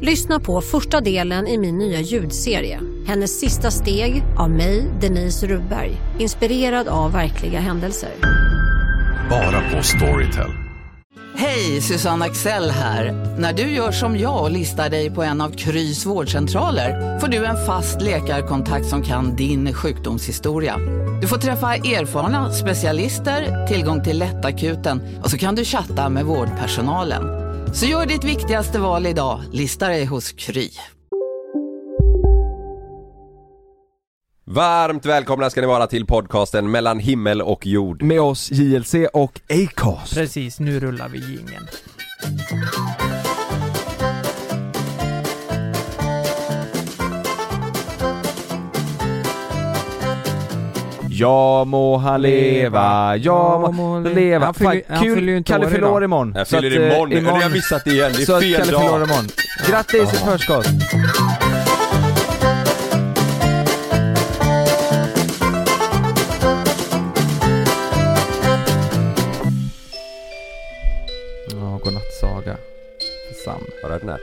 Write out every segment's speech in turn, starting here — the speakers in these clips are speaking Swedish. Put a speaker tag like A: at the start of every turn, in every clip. A: Lyssna på första delen i min nya ljudserie. Hennes sista steg av mig, Denise Rubberg. Inspirerad av verkliga händelser.
B: Bara på Storytel.
C: Hej, Susanne Axel här. När du gör som jag och listar dig på en av Krys vårdcentraler får du en fast läkarkontakt som kan din sjukdomshistoria. Du får träffa erfarna specialister, tillgång till lättakuten och så kan du chatta med vårdpersonalen. Så gör ditt viktigaste val idag, listar dig hos Kry.
D: Varmt välkomna ska ni vara till podcasten mellan himmel och jord.
E: Med oss JLC och Acast.
F: Precis, nu rullar vi jingeln.
E: Ja må han leva, ja må han leva.
F: Han fyller-
E: Fan,
F: han
E: kul,
F: fyller ju inte
E: Kalle
F: år
E: fyller
F: idag.
E: år imorgon.
D: Jag
E: Så
D: fyller
E: att, eh,
D: imorgon, imorgon. jag har missat det igen, det
E: Så
D: är
E: att
D: fel
E: Kalle fyller år
D: dag.
E: imorgon. Grattis i förskott! Ja, godnattsaga. För Sam.
D: Har du hört den här?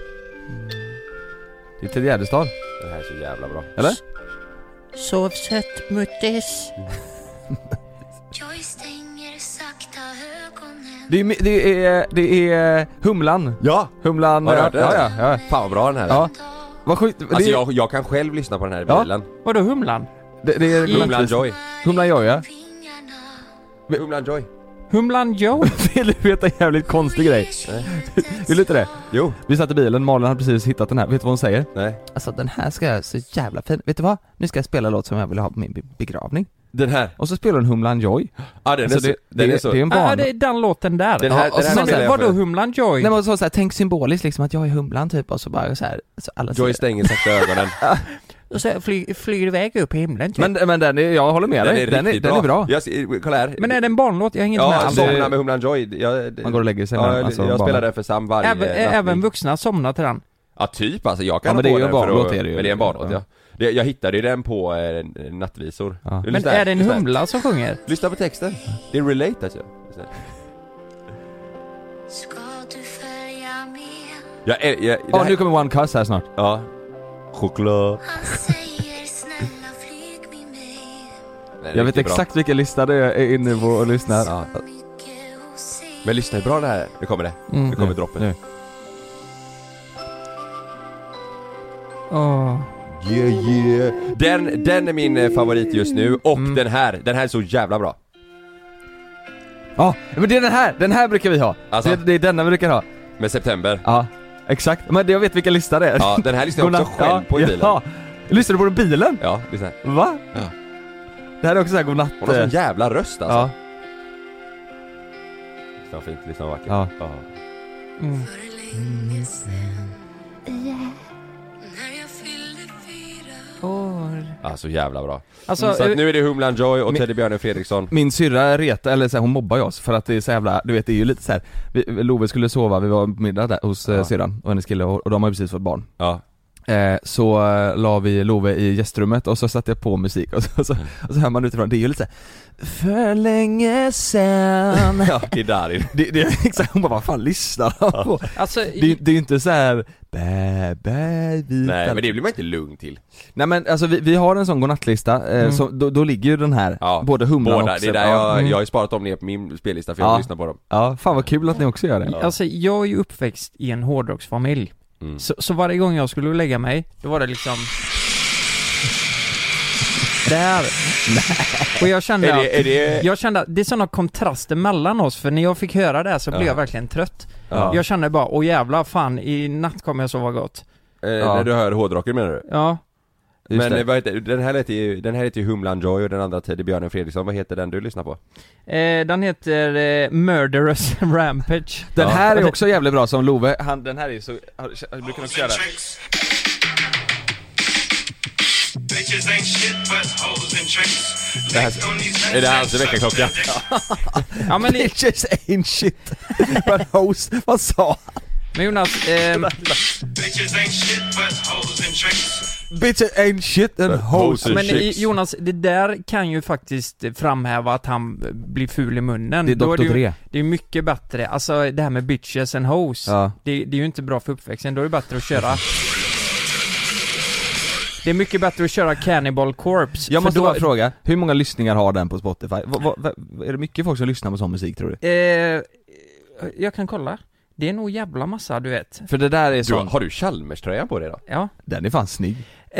E: Det är Ted Gärdestad.
D: Den här är så jävla bra.
E: Eller?
G: Sov sött muttis.
E: Det är, det är, det är Humlan.
D: Ja!
E: Humlan... eh,
D: Har du hört den?
E: ja, ja, ja.
D: Fan vad bra den här är.
E: ja. Vad sjukt.
D: Alltså
E: det,
D: jag, jag kan själv lyssna på den här i
E: Ja.
D: bilen.
F: Vadå Humlan?
E: det, det är
D: Humlan Joy.
E: Humlan Joy, ja.
D: Humlan Joy.
F: Humlan Joe?
E: Vill du veta en jävligt konstig grej? Vill du inte det?
D: Jo.
E: Vi satt i bilen, Malin hade precis hittat den här, vet du vad hon säger?
D: Nej.
H: Alltså den här ska jag så jävla fin. Vet du vad? Nu ska jag spela en låt som jag vill ha på min be- begravning.
D: Den här.
E: Och så spelar hon Humlan Joy.
D: Ja den är
E: Alltså,
D: så...
E: det,
D: den
E: det,
D: är så...
E: det är en barn...
F: Ja, Ah, det är den låten där.
D: Den här-
F: ja,
D: den här
F: men
D: spelar jag
F: vadå
D: för.
F: Humlan Joy?
H: Nej men så, så här, tänk symboliskt liksom att jag är humlan typ och så bara så här, så alla
D: Joy
H: ser.
D: stänger sakta ögonen.
G: Och så fly, flyger iväg upp i himlen.
E: Men, men den är, jag håller med
D: Den
E: dig,
D: är
E: den är,
D: riktigt
E: den är bra.
D: Jag ser- kolla här.
F: Men är det en barnlåt? Jag hänger inte
D: Ja,
F: med alls.
E: alltså-
D: somna med Humlan Joy. Jag,
E: Man går och lägger sig med
D: ja,
E: den,
D: jag-
E: alltså,
D: Jag
E: barnen.
D: spelar den för Sam varje
F: Även,
D: nattning.
F: även vuxna somnar till den.
D: Ja typ alltså, jag kan
E: Ja,
D: ha
E: men det är
D: på
E: ju en
D: den för
E: barnlåt,
D: att-
E: är det ju.
D: Men det är en barnlåt ja.
E: Ja.
D: Det, jag hittade ju den på eh, nattvisor.
E: Ja.
D: Du,
F: Men
D: lyssna här,
F: är det en
D: lyssna här.
F: humla som sjunger?
D: Lyssna på texten. Det är relate alltså. Lyssna. Jag, är- jag, det
E: Ja,
D: här-
E: nu kommer One Cuss här snart.
D: Ja. Choklad. Nej, det
E: Jag
D: är
E: vet
D: riktigt bra.
E: exakt vilken lista det är inne på och lyssnar.
D: Ja. Men lyssna hur bra det här är. Nu kommer det. Nu kommer
E: Mm. Nu,
D: droppet.
E: nu.
F: Åh.
D: Yeah, yeah. Den, den är min eh, favorit just nu och
E: Mm.
D: den här, den här är så jävla bra.
E: Ja, men det är den här! Den här brukar vi ha!
D: Alltså.
E: Det, det är denna vi brukar ha.
D: Med September.
E: Ja, exakt. Men det- jag vet vilken lista det är.
D: Ja, den här lyssnar jag också
E: Godnatt-
D: själv på i bilen.
E: Ja. Lyssnar du på den i bilen?
D: Ja, lyssna. här.
E: Va?
D: Ja.
E: Det här är också såhär godnatt...
D: Hon har sån
E: eh,
D: jävla röst alltså.
E: ja.
D: Lyssna fint, lyssna vackert.
E: Ja.
F: Mm. År.
D: Ja, så jävla bra.
F: Alltså,
D: Så att
F: eh,
D: nu är det Humlan Joy och
E: Min-
D: Teddybjörnen Fredriksson.
E: Min syrra reta, eller så här, hon mobbar ju oss för att det är så jävla, du vet det är ju lite så här. Vi, Love skulle sova, vi var på middag där hos
D: Ja.
E: ja. syrran och hennes kille och, och de har ju precis fått barn
D: Ja.
E: eh, Så eh, la vi Love i gästrummet och så satte jag på musik och så, så,
D: Mm.
E: och så hör man utifrån, det är ju lite så här, För länge sen
D: Ja, det är Darin.
E: det, det är exakt, hon bara vad fan lyssnar han på?
F: alltså,
E: Det, det är ju inte så här bä, bä, vita
D: Nej, men det blir man inte lugn till.
E: Nej men alltså vi, vi har en sån godnattlista, eh, så, då, då ligger ju den här,
D: Mm. Ja,
E: både humlan
D: Båda,
E: och
D: det är där
E: ja,
D: jag,
E: mm.
D: jag har ju sparat dem ner på min spellista för jag
E: Ja.
D: lyssnar på dem.
E: ja, fan vad kul att ni också gör det
F: Alltså jag är ju uppväxt i en hårdrocksfamilj.
D: Mm.
F: Så, så varje gång jag skulle lägga mig, då var det liksom... Där! Och jag kände
D: Är
F: att...
D: det, är det...
F: Jag kände att det är sådana kontraster mellan oss, för när jag fick höra det här så blev
D: Ja.
F: jag verkligen trött.
D: Ja.
F: Jag kände bara, åh jävla fan, i natt kommer jag sova gott.
D: Eh,
E: Ja.
D: När du hör hårdrocken menar du?
F: Ja,
E: Just
D: men
E: det.
D: eh, vad heter, den här heter ju, den här heter ju Humlan Joy och den andra Teddybjörnen Fredriksson, vad heter den du lyssnar på?
F: eh, den heter eh, Murderous Rampage. Alltså,
D: Ja.
E: Den här är också jävligt bra som Love, han, den här är ju så, har- brukar nog köra
D: Det här, är det hans väckarklocka?
F: Ja, men, li-
E: Bitches ain't shit. But host, vad sa han?
F: men Jonas, ehm,
E: Bitches ain't shit and hoes.
F: men eh,
D: Chicks.
F: i- Jonas, det där kan ju faktiskt framhäva att han blir ful i munnen.
E: Det är
F: Då
E: Dr.
F: ju-
E: Dre.
F: Det är mycket bättre, alltså det här med bitches and hoes.
E: Ja.
F: Det, det är ju inte bra för uppväxten, då är det bättre att köra Det är mycket bättre att köra Cannibal Corpse.
E: Jag
F: för
E: måste
F: då-
E: bara fråga, hur många lyssningar har den på Spotify? Vad- vad- vad- är det mycket folk som lyssnar på sån musik tror du?
F: Eh, jag kan kolla. Det är nog jävla massa, du vet.
E: För det där är
D: Du,
E: sån,
D: har du Chalmers-tröjan på dig då?
F: Ja.
E: den är fan snygg.
F: Eh,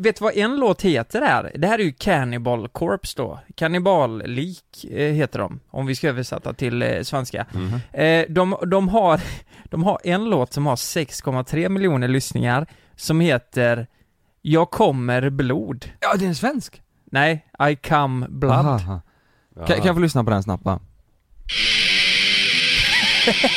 F: vet du vad en låt heter här? Det här är ju Cannibal Corpse då. Kanniballik eh, heter de, om vi ska översätta till eh, svenska. Eh, de, de, har, de har en låt som har 6,3 miljoner lyssningar som heter Jag kommer blod.
E: Ja, det är en svensk!
F: Nej, I come blood.
E: Aha, aha. Kan, kan jag få lyssna på den snabbt va?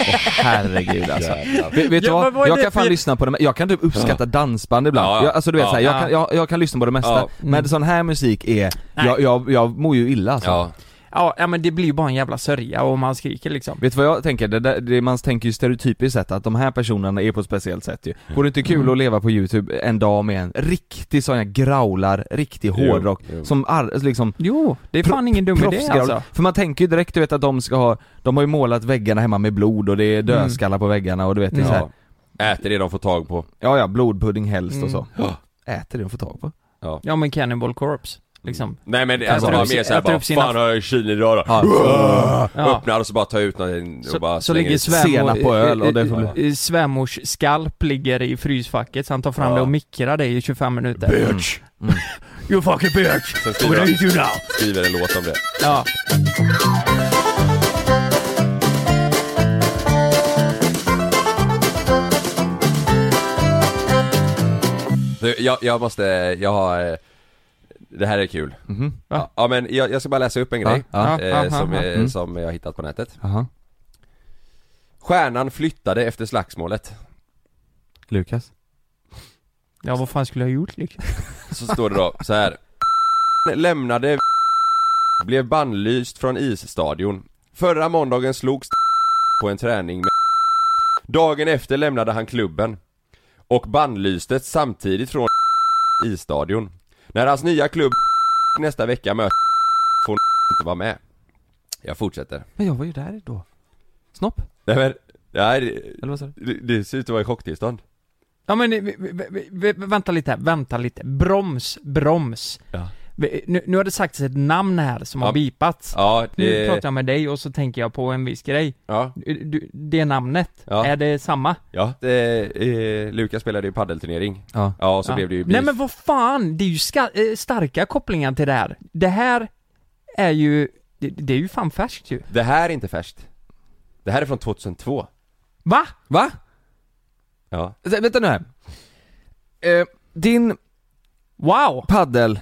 E: Åh, herregud alltså. Vet, vet du
F: Ja,
E: vad?
F: men vad är
E: Jag
F: det
E: kan fan
F: för-
E: lyssna på det, jag kan typ uppskatta dansband ibland.
D: Ja, ja.
E: Jag, alltså du vet
D: Ja.
E: såhär, jag, kan, jag, jag kan lyssna på det mesta,
D: Ja.
F: Mm.
E: men sån här musik är, jag, jag, jag mår ju illa alltså.
D: Ja.
F: Ja, ja, men det blir ju bara en jävla sörja och man skriker liksom.
E: Vet du vad jag tänker? Det där, det man tänker ju stereotypiskt sett att de här personerna är på ett speciellt sätt ju. Vore det inte kul
D: Mm.
E: att leva på youtube en dag med en riktig sån här growlar, riktig hårdrock
D: jo.
E: som ar- liksom
F: Jo, det är fan ingen dum idé
E: proffsgrowlar.
F: alltså.
E: För man tänker ju direkt du vet att de ska ha, de har ju målat väggarna hemma med blod och det är dödskallar på väggarna och du vet det är så här,
D: ja. Äter det de får tag på.
E: ja ja blodpudding helst och så. Äter det de får tag på.
F: Ja men Cannibal Corpse, liksom.
D: Nej men det- alltså
F: Äter
D: bara
F: upp si-
D: mer såhär
F: äter
D: bara,
F: upp sina-
D: fan har jag i kylen idag då?
F: Ja.
D: Öppnar och så bara tar ut någonting och bara
F: Så, så
D: slänger
F: ligger
D: ut.
F: svärmor,
E: Senap och öl och det får
F: eh, eh, svärmors skalp ligger i frysfacket så han tar fram det och mikrar det i 25 minuter. Bitch! you fucking bitch!
D: Sen skriver
F: What do
D: han-
F: you do now?
D: Skriver en låt om det.
F: Ja.
D: Du, Jag, jag måste, jag har, eh, det här är kul.
F: Mhm. Va?
D: Ja men jag, jag ska bara läsa upp en grej.
E: Ja,
F: ja,
D: eh,
F: ja,
D: som,
F: ja. Mm.
D: eh, som jag har hittat på nätet.
E: Jaha.
D: Stjärnan flyttade efter slagsmålet.
E: Lukas?
F: ja, vad fan skulle jag ha gjort liksom?
D: Så står det då så här. Lämnade blev bannlyst från isstadion. Förra måndagen slogs på en träning med Dagen efter lämnade han klubben och bannlystes samtidigt från isstadion. När hans nya klubb nästa vecka möter får inte vara med. Jag fortsätter.
E: Men jag var ju där då. Snopp?
D: Nej men, nej,
E: Eller vad sa du?
D: det, det ser ut att vara i chocktillstånd.
F: Ja men eh, v- v- v- v- vänta lite här, vänta lite. Broms, broms.
D: Ja.
F: V- Nu, nu har det sagts ett namn här som
D: Ja.
F: har bipats.
D: Ja,
F: Nu
D: det...
F: pratar jag med dig och så tänker jag på en viss grej.
D: Ja,
F: Du, det namnet,
D: Ja.
F: är det samma?
D: ja. Eh, eh, Lukas spelade ju paddelturnering.
E: Ja.
D: Ja, och så
F: Ja.
D: blev det ju
F: Nej
D: beef.
F: men vad fan, det är ju ska, eh, starka kopplingar till det här. Det här är ju, det, det är ju fan färskt ju.
D: Det här är inte färskt. Det här är från 2002.
F: Va?
E: Va?
D: Ja.
E: Vä- Vänta nu här. Eh, din
F: Wow!
E: paddel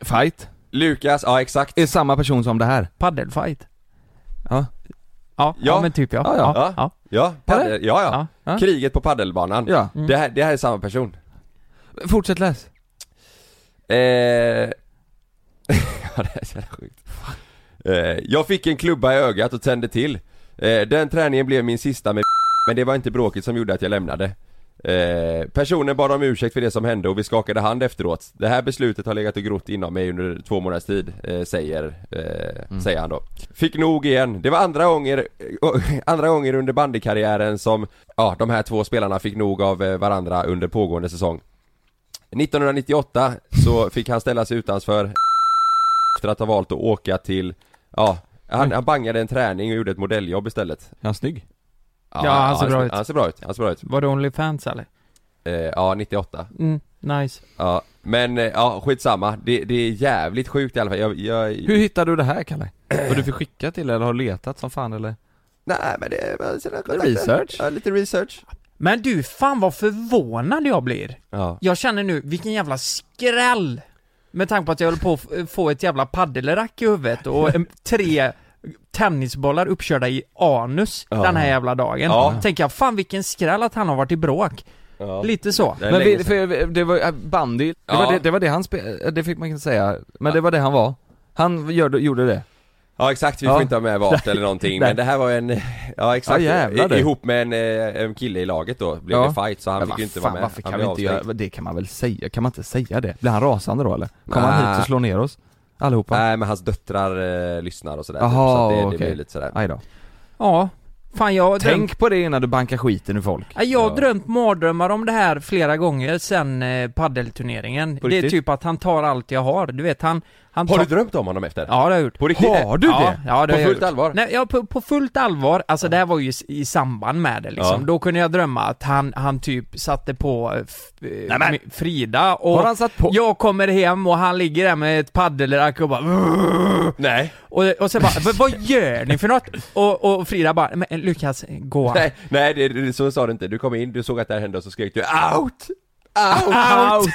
E: fight
D: Lukas, ja exakt.
E: är samma person som det här.
F: Paddelfight.
E: Ja.
F: Ja, ja,
D: Ja.
F: men typ ja.
E: Ja, ja.
F: ja. ja.
D: Ja, paddel, ja, ja.
F: Ja.
E: Ja.
D: Kriget på paddelbanan.
E: Ja.
D: Det, här, det här är samma person.
E: Fortsätt läs.
D: Eh... ja, det här är så jävla sjukt. Eh, jag fick en klubba i ögat och tände till. Eh, den träningen blev min sista med men det var inte bråket som gjorde att jag lämnade. Eh, personen bad om ursäkt för det som hände och vi skakade hand efteråt. Det här beslutet har legat och grott inom mig under två månaders tid, eh, säger, eh, säger han då. Fick nog igen. Det var andra gånger, andra gånger under bandykarriären som ja, de här två spelarna fick nog av eh, varandra under pågående säsong. 1998 så fick han ställa sig utanför efter att ha valt att åka till, ja, han, han bangade en träning och gjorde ett modelljobb istället.
E: Är han snygg?
F: Ja, han ser bra ut.
D: Han ser bra ut, han ser bra ut.
F: Var det Onlyfans eller?
D: Eh, ja, 98.
F: Mm, nice.
D: Ja, men eh, ja, skitsamma. Det, det är jävligt sjukt i alla fall. Jag, jag...
E: Hur hittade du det här Kalle? Har du fick skicka till eller har du letat som fan eller?
D: Nej men det var sina kontakter.
E: Research?
D: Ja, lite research.
F: Men du, fan vad förvånad jag blir.
D: Ja.
F: Jag känner nu, vilken jävla skräll! Med tanke på att jag höll på att f- få ett jävla paddelrack i huvudet och en- tre tennisbollar uppkörda i anus den här jävla dagen.
D: Ja.
F: Tänker jag, fan vilken skräll att han har varit i bråk.
D: Ja.
F: Lite så.
D: Det är
E: Men
D: länge
E: vi,
D: sedan.
E: för, det var, äh, bandy, det,
D: Ja.
E: var det, det var det han spelade, det fick man inte säga, men det var det han var Han gör, gjorde det
D: Ja exakt, vi
E: Ja.
D: får inte ha med vart eller någonting
E: Nej.
D: men det här var en, ja exakt,
E: Ja, jävlar du.
D: I, ihop med en, eh, en kille i laget då blev
E: Ja.
D: det fight så han
E: Men
D: fick
E: vad
D: ju inte
E: fan,
D: vara med.
E: Varför kan
D: han
E: vi
D: blev
E: inte göra,
D: avstängd.
E: det kan man väl säga, kan man inte säga det? Blir han rasande då eller? Kommer han
D: Nej.
E: hit och slår ner oss? Allihopa?
D: Nej men hans döttrar eh, lyssnar och sådär
E: Jaha,
D: så att det, det
E: okej.
D: blir lite sådär.
E: Aj då.
F: Ja. Fan jag har drömt,
E: Tänk på det innan du bankar skiten ur folk
F: Ja, jag har
D: Ja.
F: drömt mardrömmar om det här flera gånger sen eh, paddelturneringen.
E: På
F: Det är
E: riktigt?
F: typ att han tar allt jag har, du vet han... han
D: Har
F: tar...
D: du drömt om honom efter?
F: Ja det har jag gjort.
D: På riktigt?
E: Har du
F: ja,
E: det?
F: Ja, det
D: På
F: har jag
D: fullt
F: gjort.
D: allvar?
F: Nej, ja, på, på fullt allvar, alltså det här var ju s- i samband med det liksom.
D: Ja.
F: Då kunde jag drömma att han, han typ satte på eh, f- eh,
E: men-
F: m- Frida och
E: Har han satt på?
F: jag kommer hem och han ligger där med ett padelrack och bara
D: Nej,
F: och, och sen bara, "Vad- vad gör ni för något? Och, och Frida bara, men Lukas, gå.
D: nej, nej det, det, så sa du inte. Du kom in, du såg att det här hände och så skrek du out! Out!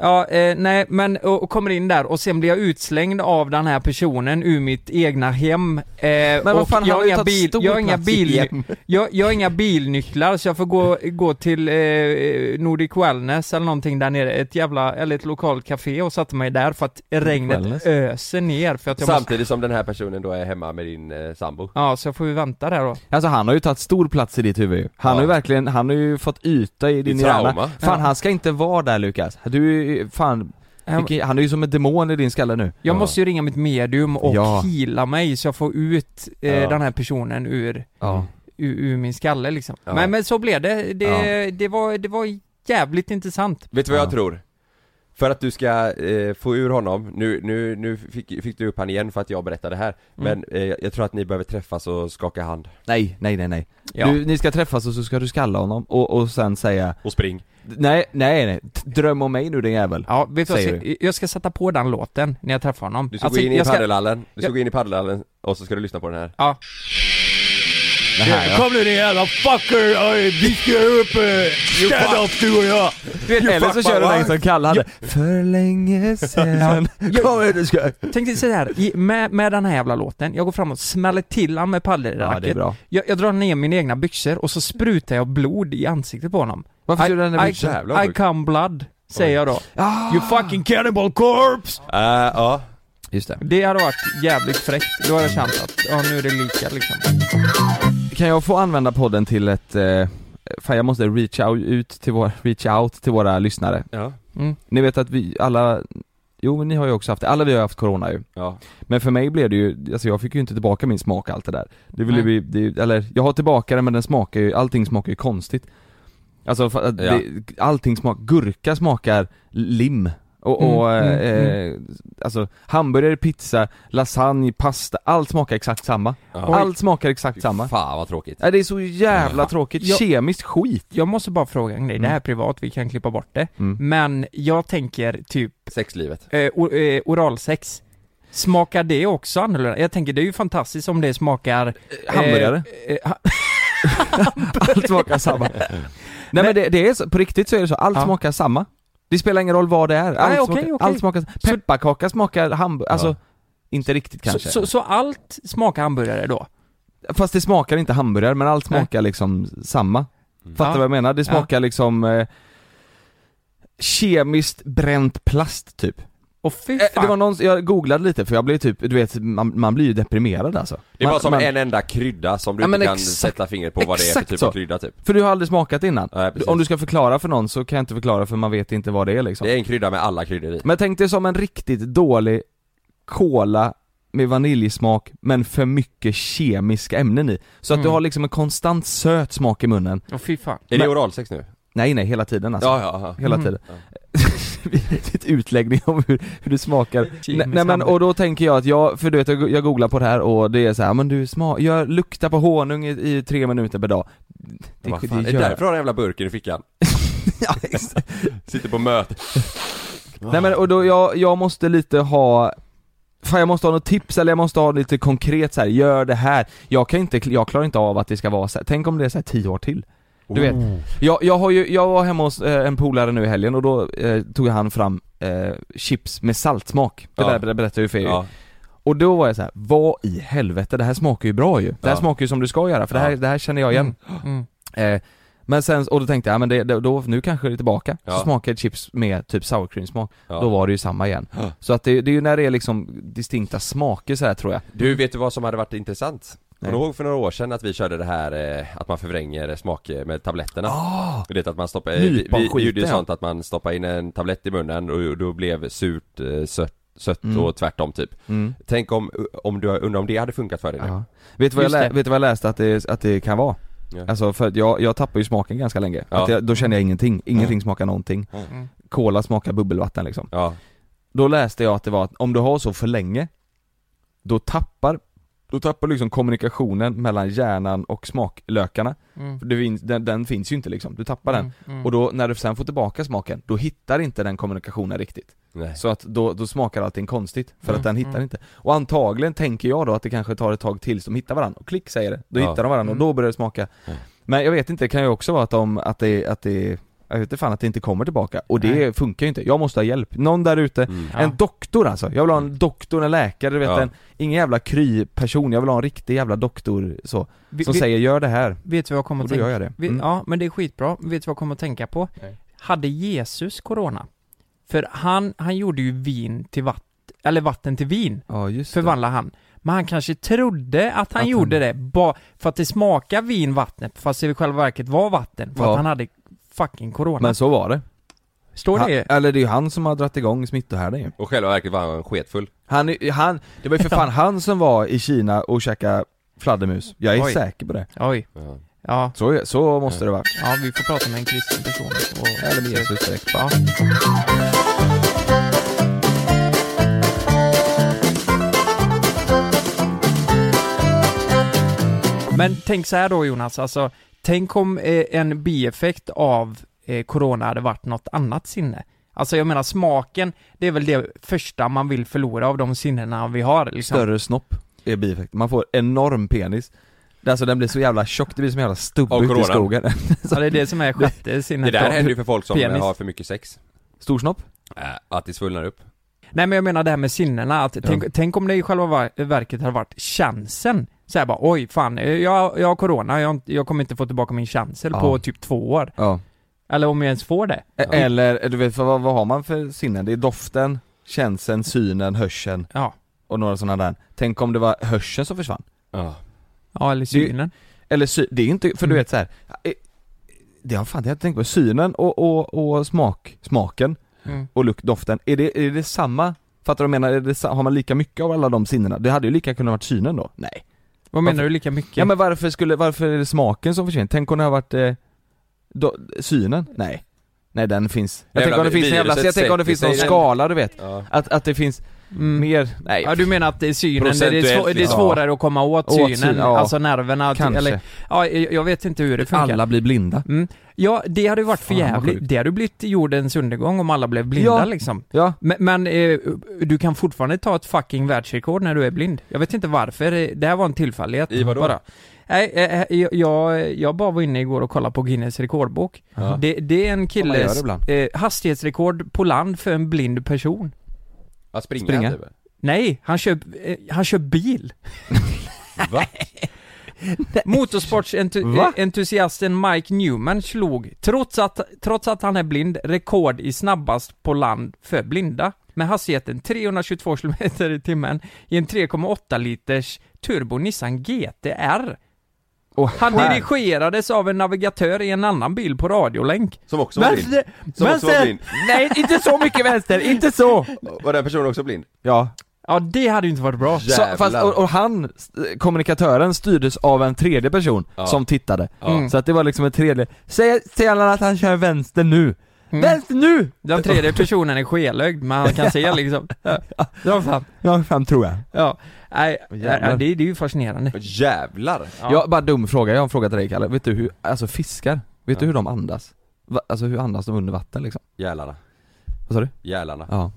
F: ja, eh, nej men, och, och kommer in där och sen blir jag utslängd av den här personen ur mitt egna hem. Eh, men
E: vad fan, han
F: jag
E: har
F: har
E: ju
F: inga
E: tagit
F: bil,
E: stor
F: jag har inga
E: plats i
F: bil,
E: hem.
F: jag, jag har inga bilnycklar så jag får gå, gå till eh, Nordic Wellness eller någonting där nere, ett jävla, eller ett lokalt café och satte mig där för att regnet
E: Wellness.
F: öser ner för att jag måste,
D: Samtidigt som den här personen då är hemma med din eh, sambo.
F: ja så jag får vi vänta där då.
E: Alltså han har ju tagit stor plats i ditt huvud ju. Han
D: Ja.
E: har ju verkligen, han har ju fått yta i din hjärna
D: trauma.
E: Fan
F: Ja.
E: han ska inte vara där Lukas, du är ju- fan, vilken- han är ju som en demon i din skalle nu
F: Jag
D: Ja.
F: måste ju ringa mitt medium och
E: Ja.
F: heala mig så jag får ut eh,
D: Ja.
F: den här personen ur,
E: Ja,
F: ur, ur min skalle liksom.
D: Ja.
F: Men, men så blev det. Det, det, var, det var jävligt intressant.
D: Vet du vad
E: Ja.
D: jag tror? För att du ska eh, få ur honom, nu, nu, nu fick, fick du upp han igen för att jag berättade det här
E: Mm.
D: Men eh, jag tror att ni behöver träffas och skaka hand
E: nej, nej, nej, nej.
F: Ja.
E: Du, ni ska träffas och så ska du skalla honom och, och sen säga
D: och spring
E: Nej, nej, nej, T- dröm om mig nu din jävel
F: Ja, vet du vad,
E: Säger
F: jag ska- jag ska sätta på den låten när jag träffar honom.
D: Du ska
F: Alltså,
D: gå in i
F: jag
D: paddelhallen, du ska
F: Ja.
D: gå in i paddelhallen och så ska du lyssna på den här
F: Ja.
E: Det här, ja.
F: Kom nu din jävla fucker! Oj, Vi ska upp! eh, Stand up du och jag!
E: Du vet, eller så kör du den som Kalle hade För länge sen Kom igen du ska
F: Tänk dig såhär, i- med, med den här jävla låten, jag går fram och smäller till han med
E: Ja det är
F: paddelracket.
E: bra
F: jag, jag drar ner mina egna byxor och så sprutar jag blod i ansiktet på honom.
E: Varför
F: I-
E: skulle den här
F: I-
E: byxan?
D: Jävlar,
F: I
D: sjukt.
F: come blood, säger jag då.
E: Ah.
F: You fucking cannibal corpse!
D: Äh, ja
E: Just det
F: Det hade varit jävligt fräckt. Då hade jag känt att, ja nu är det lika liksom.
E: Kan jag få använda podden till ett, eh, fan jag måste reach out, ut till våra, reach out till våra lyssnare
D: Ja,
E: Ni vet att vi alla, jo men ni har ju också haft det, alla vi har haft corona ju
D: ja.
E: Men för mig blev det ju, alltså jag fick ju inte tillbaka min smak allt det där Det ville
F: Nej.
E: vi, det, eller jag har tillbaka det men den smakar ju, allting smakar ju konstigt Alltså för att
D: Ja.
E: det, allting smakar, gurka smakar lim och, och
F: Mm, mm,
E: eh, alltså hamburgare, pizza, lasagne, pasta, allt smakar exakt samma
D: ja.
E: Allt smakar exakt
D: Fy
E: samma
D: Fan vad tråkigt
E: Nej, det är så jävla
D: Ja.
E: tråkigt,
F: Ja.
E: kemiskt skit
F: Jag måste bara fråga en grej, det här är privat, vi kan klippa bort det.
E: Mm.
F: Men jag tänker typ
D: Sexlivet
F: eh, or, eh, oralsex. Smakar det också annorlunda? Jag tänker det är ju fantastiskt om det smakar... eh,
E: Hamburgare,
F: eh, ha-
E: allt smakar samma Nej men det, det är så, på riktigt så är det så, allt
F: Ja.
E: smakar samma Det spelar ingen roll vad det är, allt,
F: Nej, okej,
E: smakar,
F: okej.
E: allt smakar Pepparkaka smakar hamburgare, alltså
D: Ja.
E: Inte riktigt
F: så,
E: kanske.
F: så, så allt smakar hamburgare då?
E: Fast det smakar inte hamburgare, men allt
F: Nej.
E: smakar liksom samma. Fattar
F: Ja.
E: vad jag menar? Det
F: Ja.
E: smakar liksom eh, kemiskt bränt plast typ.
F: Och fy
E: Eh,
F: fan.
E: Det var någon, jag googlade lite för jag blev typ, du vet, man, man blir ju deprimerad alltså.
D: Det är
E: man,
D: bara som
E: man,
D: en enda krydda som du
E: Ja, men
D: inte kan
E: exakt-
D: sätta fingret på vad det är för
E: exakt
D: typ
E: så.
D: av krydda typ
E: För du har aldrig smakat innan.
D: Nej, precis.
E: Om du ska förklara för någon så kan jag inte förklara för man vet inte vad det är liksom.
D: Det är en krydda med alla kryddor i
E: Men tänk dig som en riktigt dålig cola med vaniljsmak men för mycket kemiska ämnen i. Så att
F: Mm.
E: du har liksom en konstant söt smak i munnen.
F: Åh, fy fan.
D: Är
E: men-
D: det oralsex nu?
E: Nej nej, hela tiden alltså.
D: Ja, ja, ja.
E: Hela
F: Mm.
E: tiden. Ditt utläggning om hur, hur det smakar. Nej,
F: Kemisk
E: nej men
F: hamburgare.
E: och då tänker jag att jag, för du vet jag, go- jag googlar på det här och det är så här, men du smak, jag luktar på honung i, i tre minuter per dag. Det,
D: Vad
E: det,
D: fan, är det
E: gör-
D: därför har den jävla burken i fickan?
E: ja, exakt.
D: Sitter på möte
E: Nej men och då, jag, jag måste lite ha Fan jag måste ha något tips eller jag måste ha lite konkret så här. gör det här Jag kan inte, jag klarar inte av att det ska vara så här. tänk om det är så här tio år till Du vet,
D: Oh.
E: jag, jag har ju, jag var hemma hos eh, en polare nu i helgen och då eh, tog han fram eh, chips med saltsmak Det
D: Ja.
E: där berättade jag ju för er ju.
D: Ja,
E: Och då var jag så här: vad i helvete, det här smakar ju bra ju Det här
D: Ja.
E: smakar ju som du ska göra för det här,
D: Ja.
E: det här känner jag igen
F: Mm.
E: eh, Men sen, och då tänkte jag, ja, men det, det- då, nu kanske det är tillbaka.
D: Ja.
E: Så smakade jag chips med typ sour cream smak,
D: Ja.
E: då var det ju samma igen.
D: Ja.
E: Så att det, det är ju när det är liksom distinkta smaker så här tror jag.
D: Du, vet du vad som hade varit intressant? Kommer
E: Nej.
D: du ihåg för några år sedan att vi körde det här eh, att man förvränger smak eh, med tabletterna?
E: Ah!
D: Du vet att man stoppar, eh, vi, vi, vi
E: Nyponskiten,
D: gjorde ju
E: ja.
D: sånt att man stoppade in en tablett i munnen och då blev surt, eh, sött, sött
E: Mm.
D: och tvärtom typ
E: Mm.
D: Tänk om, om du, undrar om det hade funkat för dig nu?
E: Ja. Vet, du vad jag
F: Just
E: lä-
F: det.
E: vet du vad jag läste att det, att det kan vara?
D: Ja.
E: Alltså för att jag, jag tappar ju smaken ganska länge,
D: Ja.
E: att jag, då känner jag ingenting, ingenting smakar någonting
F: Mm.
E: Cola smakar bubbelvatten liksom
D: Ja,
E: Då läste jag att det var att om du har så för länge Då tappar, då tappar liksom kommunikationen mellan hjärnan och smaklökarna
F: Mm.
E: För det finns- den, den finns ju inte liksom, du tappar den
F: Mm.
E: Och då när du sen får tillbaka smaken, då hittar inte den kommunikationen riktigt
D: nej
E: så att då, då smakar allting konstigt, för
F: Mm,
E: att den hittar
F: mm.
E: inte. Och antagligen tänker jag då att det kanske tar ett tag tills de hittar varandra, och klick säger det, då
D: Ja.
E: hittar de varandra och då börjar det smaka.
D: Mm.
E: Men jag vet inte, det kan ju också vara att de, att det, att det, jag vet inte fan att det inte kommer tillbaka. Och det
F: Nej.
E: funkar ju inte, jag måste ha hjälp. Någon där ute,
D: Mm.
F: Ja. Mm.
E: en doktor alltså, jag vill ha en doktor, en läkare, du vet
D: Ja.
E: en, ingen jävla kry-person, jag vill ha en riktig jävla doktor så,
F: Vi-
E: som
F: vi-
E: säger gör det här,
F: Vet du vad jag
E: och
F: kommer att
E: då gör
F: tänka?
E: jag det.
F: Vi,
E: Mm.
F: Ja, men det är skitbra. Vet du vad jag kommer att tänka på?
E: Nej.
F: Hade Jesus corona? För han, han gjorde ju vin till vatten, eller vatten till vin,
E: Ja just det.
F: förvandlade han. Men han kanske trodde att han
E: Att
F: gjorde
E: han-
F: det bara för att det smakar vin vattnet, fast det i själva verket var vatten, för
E: Ja.
F: att han hade fucking corona.
E: Men så var det.
F: Står
E: Han,
F: det ju?
E: eller det är ju han som har dragit igång smittohärden ju.
D: Och själva verket var han sketfull
E: Han, är- han, det var ju för fan han som var i Kina och käkade fladdermus. Jag är
F: Oj.
E: säker på det.
F: Oj.
D: ja.
F: Ja.
E: Så, så måste det vara.
F: ja, vi får prata med en kristen person. Och...
E: Eller med Jesus direkt.
F: Ja. Men tänk så här då Jonas, alltså tänk om eh, en bieffekt av eh, corona hade varit något annat sinne. Alltså jag menar smaken, det är väl det första man vill förlora av de sinnena vi har liksom.
E: Större snopp är bieffekten. Man får enorm penis. Alltså den blir så jävla tjock, det blir som en jävla
D: Av
E: stubbe ute i
D: corona.
E: skogen.
F: Ja, det är det som är sjätte
D: Det
F: sinnet.
D: där
F: då.
D: händer ju för folk som eh,
F: Penis.
D: har för mycket sex
E: Stor snopp?
D: Äh, Att det svullnar upp
F: Nej men jag menar det här med sinnena, att tänk, tänk om det i själva ver- verket hade varit chansen. Så här bara, oj fan, eh, jag, jag har corona, jag, har inte- jag kommer inte få tillbaka min chansel
E: Ja.
F: på typ två år.
E: Ja.
F: Eller om jag ens får det.
E: E- Eller, du vet för vad, vad har man för sinnen? Det är doften, känseln, synen, hörseln
F: Ja.
E: och några sådana där. Tänk om det var hörseln som försvann.
D: Ja,
F: Ja, eller synen.
E: Eller sy- det är inte, för du
F: Mm.
E: vet så här. eh, Det har fan jag har inte tänkt på, synen och, och, och smak, smaken
F: Mm.
E: och lukt, doften, är det, är det samma? Fattar du vad jag menar? Är det, sa- har man lika mycket av alla de sinnena? Det hade ju lika kunnat varit synen då? Nej.
F: Vad menar
E: Varför-
F: du lika mycket?
E: Ja men varför skulle, varför är det smaken som försvinner? Tänk om det har varit eh, do, synen? Nej. Nej den finns. Jag
D: Jävla
E: tänker om det finns en jävla,
D: viruset
E: jag tänker om det finns någon
D: sätter sig i den.
E: skala du vet.
D: ja.
E: Att, att det finns
F: mm.
E: mer, nej
F: Ja, du menar att det är synen, det är,
D: Procentuellt
F: svå- det är
D: liksom.
F: svårare att komma åt
E: Åt
F: synen,
E: syn- ja.
F: alltså nerverna, att-
E: kanske.
F: eller, ja, jag jag vet inte hur det funkar.
E: alla blir blinda.
F: Mm. Ja, det hade ju varit för
E: Fan, vad
F: jävligt.
E: sjukt.
F: Det hade ju blivit jordens undergång om alla blev blinda
E: Ja.
F: liksom.
E: Ja.
F: Men, men eh, du kan fortfarande ta ett fucking världsrekord när du är blind. Jag vet inte varför, eh, det här var en tillfällighet.
D: I vadå?
F: Bara. Nej, eh, eh, jag- jag, jag bara var inne igår och kollade på Guinness rekordbok.
D: Ja.
F: Det, det är en
E: Som man gör
F: killes
E: ibland.
F: eh, hastighetsrekord på land för en blind person.
D: Att springa,
E: Springa.
D: Typ.
F: Nej, han kör, eh, han kör bil.
D: Va?
E: Va?
F: Motorsportsentusiasten Mike Newman slog, trots att, trots att han är blind, rekord i snabbast på land för blinda med hastigheten 322 km i timmen i en 3,8 liters turbo Nissan GTR.
E: Och
F: Han
E: här-
F: dirigerades av en navigatör i en annan bil på radiolänk.
D: Som också var blind?
E: alltså
D: Som också var blind?
F: Nej, inte så mycket vänster, inte så!
D: Var den personen också blind?
E: Ja.
F: Ja, det hade ju inte varit bra.
E: Så,
D: Jävlar.
E: fast, och, och han, eh, kommunikatören styrdes av en tredje person
D: Ja.
E: som tittade.
F: Mm.
E: Så att det var liksom en tredje, säg, säg alla att han kör vänster nu! Vänster nu!
F: Den tredje personen är skelögd, men han kan se liksom. Ja, fan.
E: Ja, fan tror jag.
F: Ja, nej,
E: Jävlar.
F: nej, det, det är ju fascinerande.
D: Jävlar!
F: Ja.
E: Jag, bara dum fråga, jag har en fråga till dig Kalle. Vet du hur, alltså fiskar, vet du hur de andas? Va, alltså hur andas de under vatten liksom?
D: Jälarna
E: Vad sa du?
D: Jälarna
E: Ja.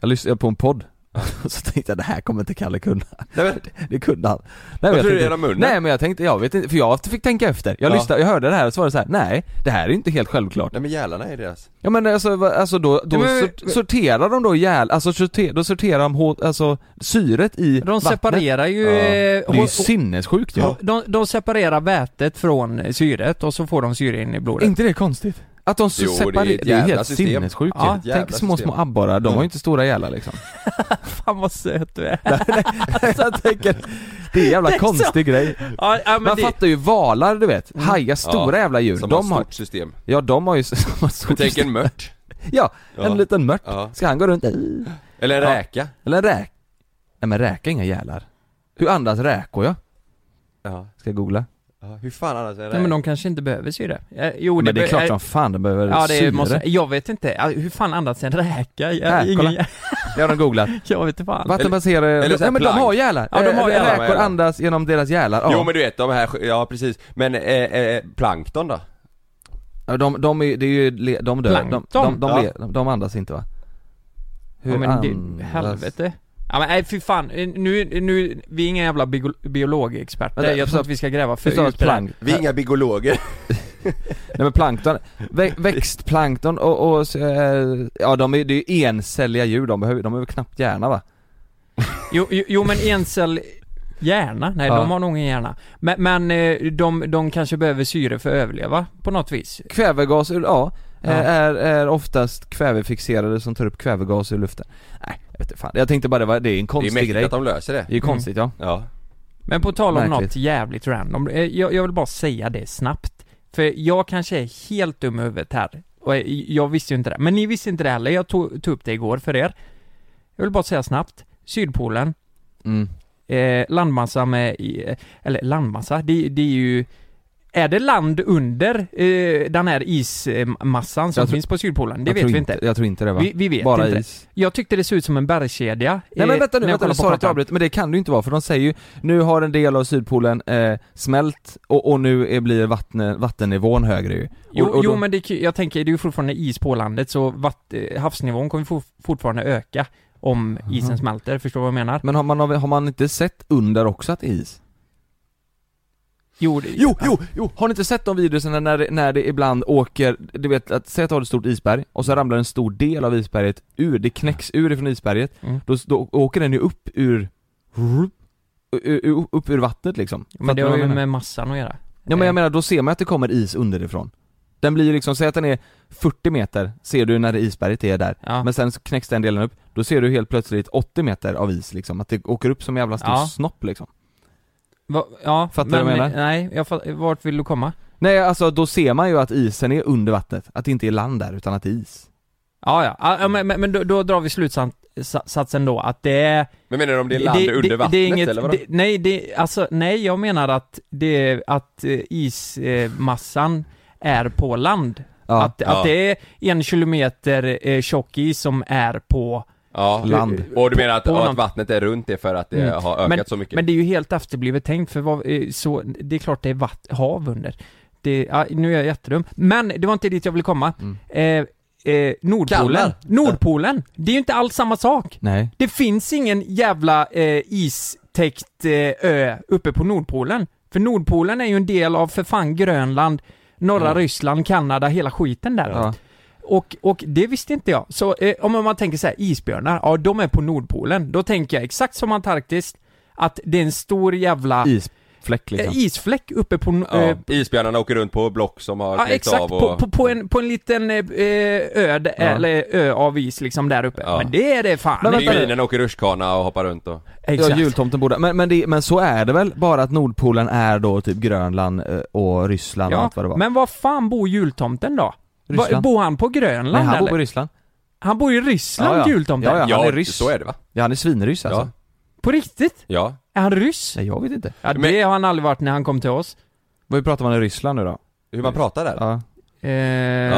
E: Jag lyssnade på en podd Och så tänkte jag det här kommer inte Kalle kunna.
D: Nej, men,
E: Det kunde han. Nej, men
D: jag tror det är
E: tänkte,
D: genom munnen.
E: nej men jag tänkte, jag vet inte, för jag fick tänka efter. Jag
D: Ja.
E: lyssnade, jag hörde det här och så var det så här: nej det här är ju inte helt självklart.
D: Nej men gälarna är deras.
E: Ja men alltså, va- alltså då, då
F: Ja, men-
E: sor- sorterar de då ihjäl, alltså sorter, då sorterar de hå, alltså syret i
F: De
E: vattnet.
F: separerar ju... eh,
E: Det är ju
F: hå-
E: sinnessjukt ju.
F: hå- de, de separerar vätet från syret och så får de syre in i
E: Är
F: blodet.
E: inte det konstigt? Att de
D: Jo, det är
E: separerar,
D: ett
E: det är,
D: jävla
E: helt
D: system.
E: sinnessjukt
D: Ja,
E: ju.
D: ett jävla
E: Tänk små
D: system. Mm.
E: små abborrar, de har ju inte stora gälar liksom.
F: Fan vad söt du är.
E: jag tänker, det är en jävla
F: Det är så-
E: konstig grej.
F: Ja, ja, men
E: Man
F: det,
E: fattar ju valar du vet, hajar, stora jävla djur,
D: Mm. Som
E: de
D: har
E: har,
D: ett stort system.
E: ja de har ju som har
D: Men
E: stort-
D: tänk en mört.
E: Ja,
D: Ja.
E: en liten mört.
D: Ja. Mm.
E: Ska han gå runt, eh,
D: Eller en
E: Ja.
D: räka.
E: eller en räk? Nej men räka har inga gälar. Hur andas räkor ja?
D: Ja.
E: Ska jag googla?
D: ja. Hur fan annars är en
F: nej, men
D: räka?
F: de kanske inte behöver syre. Eh, Jo,
E: Men det är
F: be-
E: klart
F: eh,
E: som fan de behöver
F: Ja, det
E: syre.
F: måste, jag vet inte, Ja, hur fan andas en räka? Jag,
E: Här,
F: ingen,
E: kolla. Det har de googlat.
F: jag vet inte fan.
E: Vattenbaserade...
D: eller så här
E: Nej men de
D: plank.
E: har gälar!
F: Ja, de har
E: Eh,
F: gälar.
E: Räkor andas genom deras gälar, ja.
D: Jo men du vet de här, ja precis. Men eh, eh, plankton då?
E: Ja, De, de, är, det är ju, le- de dör, de, de, de,
F: Plankton.
E: de,
D: Ja.
E: le- de, de andas inte va?
F: ja, men det,
E: andas-
F: helvete. Ja men nej fy fan, Eh, nu, nu, vi är inga jävla bio, biologexperter,
E: Vänta,
F: jag tror
E: förstå-
F: att vi ska gräva för
E: Det står
F: djupt
E: att
F: i det här.
E: plank,
D: Vi är inga biologer.
E: nej men plankton, vä, växtplankton och, och eh, ja de är, det är ju encelliga djur, de behöver, de behöver knappt hjärna va?
F: Jo, jo, jo men encell hjärna, nej
E: Ja.
F: de har nog ingen hjärna. Men, men eh, de, de kanske behöver syre för att överleva på något vis.
E: Kvävegas, ur- ja,
F: Ja.
E: eh, Är, är oftast kvävefixerade som tar upp kvävegas ur luften. Nej, jag vet inte fan. Jag tänkte bara det var, det är en
D: Det är
E: konstig
D: mäktigt
E: grej.
D: att de löser det.
E: Det är ju konstigt
F: Mm.
E: ja.
D: Ja.
F: Men på tal om
E: Märkligt.
F: något jävligt random, eh, jag, jag vill bara säga det snabbt. För jag kanske är helt dum i huvudet här, och eh, jag visste ju inte det. Men ni visste inte det heller, jag tog, tog upp det igår för er. Jag vill bara säga snabbt, Sydpolen,
E: Mm.
F: eh, landmassa med, eh, eller landmassa, det, det är ju är det land under eh, den här ismassan som
E: Jag tror-
F: finns på Sydpolen? Det
E: jag
F: vet
E: tror
F: vi inte.
E: Jag tror inte det va?
F: Vi, vi vet
E: bara
F: inte.
E: is.
F: Jag tyckte det såg ut som en bergskedja.
E: Nej men
F: eh,
E: vänta nu, vänta
F: när jag
E: nu,
F: kollade på
E: sorry att jag
F: kartan.
E: avbryter, men det kan det ju inte vara för de säger ju Nu har en del av Sydpolen eh, smält och, och nu är, blir vatten, vattennivån högre ju
F: Jo,
E: och, och
F: jo
E: då-
F: men det, är ju- jag tänker, det är ju fortfarande is på landet så vatt, eh, havsnivån kommer for, fortfarande öka om isen
E: Aha.
F: smälter, förstår du vad jag menar?
E: men har man, har man inte sett under också att det är is?
F: Jo, det,
E: Jo, jo, jo! Har ni inte sett de videorna när, det- när det ibland åker, du vet, att, säg att du har ett stort isberg och så ramlar en stor del av isberget ur, det knäcks ur ifrån isberget,
F: Mm.
E: då, då åker den ju upp ur, ur, ur upp ur vattnet liksom
F: men det
E: Fattar du vad
F: har
E: jag
F: ju
E: menar?
F: med massan att göra.
E: Ja men
F: Eh,
E: jag menar, då ser man att det kommer is underifrån. Den blir ju liksom, säg att den är 40 meter, ser du när det isberget är där.
F: Ja.
E: Men sen så knäcks den delen upp, då ser du helt plötsligt 80 meter av is liksom, att det åker upp som en jävla stor
F: Ja.
E: snopp liksom.
F: Va, ja,
E: Fattar du vad jag menar?
F: Nej, jag fatt, vart vill du komma?
E: Nej alltså då ser man ju att isen är under vattnet, att det inte är land där utan att det är is.
F: Ja, ja, ja, ja men, men, men då, då drar vi slutsatsen då att det är...
D: Men menar du om det är land under vattnet
F: är inget-
D: eller vadå?
F: det, Nej, det, alltså, nej jag menar att det är att eh, ismassan eh, är på land.
E: Ja,
F: Att,
D: Ja.
F: att det är en kilometer eh, tjock is som är på
D: ja.
E: land.
D: Och du menar att,
F: På
D: och
F: någon-
D: att vattnet är runt det för att det
F: Mm.
D: har ökat
F: Men-
D: så mycket?
F: Men det är ju helt efterblivet tänkt för vad, eh, så, det är klart det är vatt, hav under. Det, ja, nu är jag jättedum. Men det var inte dit jag ville komma. Eh, eh, Nordpolen.
D: Mm. Kalmar.
F: Nordpolen. Det är ju inte alls samma sak.
E: Nej.
F: Det finns ingen jävla eh, istäckt eh, ö uppe på Nordpolen. För Nordpolen är ju en del av för fan Grönland, norra
D: Mm.
F: Ryssland, Kanada, hela skiten där.
E: Ja.
F: Och, och det visste inte jag. Så eh, om man tänker så här, isbjörnar, ja de är på Nordpolen. Då tänker jag exakt som Antarktis, att det är en stor jävla
E: Isfläck liksom.
F: eh, isfläck uppe på... no-
D: ja.
F: Eh,
D: Isbjörnarna åker runt på block som har
F: Ja
D: knäckts
F: exakt,
D: av
F: på,
D: och...
F: på, på, en, på en liten eh, eh, ö, d-
E: Ja.
F: eller ö av is liksom där uppe.
D: Ja.
F: Men det är det fan
E: Men vänta nu.
D: Pingvinen åker rutschkana och hoppar runt och...
E: Ja, jultomten borde, men, men, det, men så är det väl? Bara att Nordpolen är då typ Grönland eh, och Ryssland och
F: Ja,
E: allt vad det var.
F: men var fan bor jultomten då? Va,
E: Ryssland.
F: bor han på Grönland
E: Nej, han bor
F: eller?
E: på Ryssland.
F: han bor i Ryssland,
E: Ja, ja.
F: jultomten?
E: Ja, ja. han är ryss.
D: så är det va?
E: Ja han är svinryss alltså.
D: Ja.
F: På riktigt?
D: Ja.
F: Är han ryss?
E: Nej, jag vet inte.
F: Ja, det
D: Men-
F: har han aldrig varit när han kom till oss.
E: Vad pratar man i Ryssland nu då?
D: Hur man pratar där?
E: Ja.
F: Eh,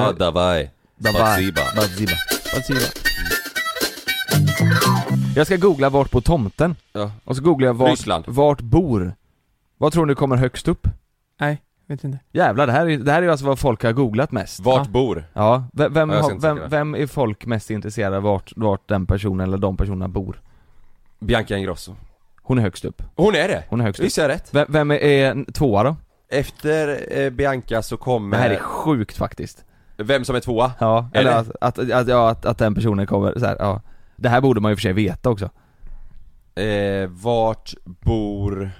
D: Ja, davaj. Spasiba.
E: Baziba.
F: vad säger jag?
E: Jag ska googla vart på tomten,
D: Ja.
E: och så googlar jag vart,
D: Ryssland.
E: vart bor Vad tror ni kommer högst upp?
F: Nej, vet inte.
E: Jävlar, det här är, det här är alltså vad folk har googlat mest
D: Vart
F: Ja.
D: bor?
E: Ja, ve- vem,
D: Ja, jag ska
E: har-
D: inte
E: vem,
D: söka det.
E: vem är folk mest intresserade av vart, vart den personen eller de personerna bor?
D: Bianca Ingrosso.
E: Hon är högst upp.
D: Hon är det!
E: Hon är högst upp.
D: Visst är jag rätt?
E: V- vem är, är tvåa då?
D: Efter eh, Bianca så
E: Det här
D: kommer...
E: är sjukt faktiskt.
D: Vem som är tvåa?
E: Ja,
D: Eh. Är
E: eller
D: det?
E: att, att, att, ja, att, att den personen kommer så här, ja. Det här borde man ju för sig veta också.
D: Eh, vart bor...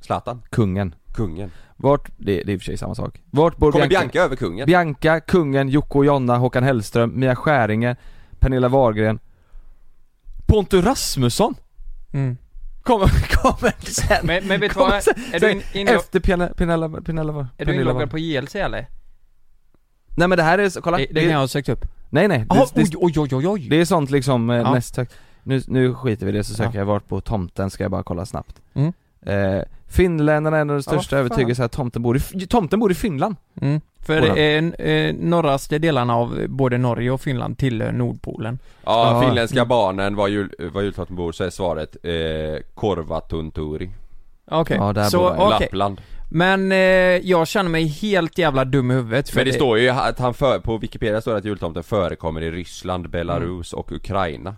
D: Zlatan?
E: Kungen.
D: Kungen.
E: Vart, det, det är i och för sig samma sak. Vart bor
D: Kommer Bianca, över kungen?
E: Bianca, kungen, Jocke och Jonna, Håkan Hellström, Mia Skäringer, Pernilla Wahlgren Pontus Rasmusson
F: Mm.
E: kommer, kommer sen!
F: Men, men vet du
E: Kommer
F: vad?
E: sen-
F: Är du,
E: sen
F: in, in,
E: efter Pernilla, Pernilla, Pernilla,
F: är du
E: Pernilla
F: inloggad
E: Wahlgren.
F: på JLC eller?
E: Nej men det här är, så- kolla,
F: Det,
E: det,
F: det kan jag ha sökt upp.
E: nej nej, det,
F: Jaha,
E: det,
F: oj, oj, oj, oj, oj.
E: det är sånt liksom eh,
F: oh, Ja.
E: näst högt nu, nu skiter vi i det så söker jag vart på tomten ska jag bara kolla snabbt
F: Mm.
E: eh, Finländarna är en av de
F: vad
E: största
F: fan.
E: övertygelserna att tomten bor i, tomten bor i Finland
F: Mm. För
E: Polen.
F: eh, eh, norraste delarna av både Norge och Finland tillhör Nordpolen.
D: Ja,
E: Ja.
D: finländska barnen var, jul, var jultomten bor så är svaret eh, Korvatunturi.
F: Okej,
E: Ja, där
F: så
E: bor jag.
F: okej.
D: Lappland.
F: Men eh, jag känner mig helt jävla dum i huvudet. För
D: Men det står ju att han för, på Wikipedia står det att jultomten förekommer i Ryssland, Belarus och Ukraina.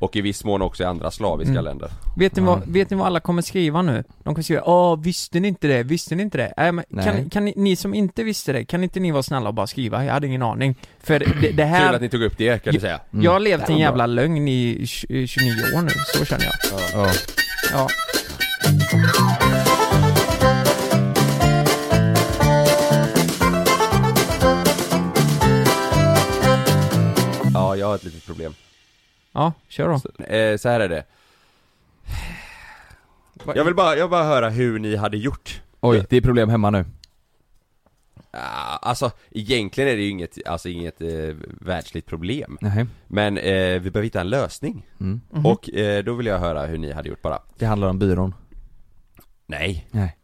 D: Och i viss mån också i andra slaviska
F: Mm.
D: länder.
F: vet, ni vad, vet ni vad alla kommer skriva nu? De kommer skriva Åh, visste ni inte det? Visste ni inte det? Äh, men
E: Nej.
F: Kan, kan ni, ni som inte visste det, kan inte ni vara snälla och bara skriva? Jag hade ingen aning. För det, det
D: Kul att
F: här,
D: ni tog upp det kan du säga.
F: jag har levt
E: Mm. Det
F: en
E: här var
F: jävla lögn i tj- 29 år nu, så känner jag.
E: Ja.
F: Ja.
D: Ja, jag har ett litet problem.
F: Ja, kör då.
D: Så, eh, så här är det. Jag vill bara, jag vill bara höra hur ni hade gjort.
E: Oj, det är problem hemma nu
D: Ah, Alltså egentligen är det ju inget, alltså inget eh, världsligt problem.
E: Nej.
D: Men eh, vi behöver hitta en lösning.
E: Mm.
D: Och eh, då vill jag höra hur ni hade gjort bara.
E: Det handlar om byrån
D: Nej.
E: Nej.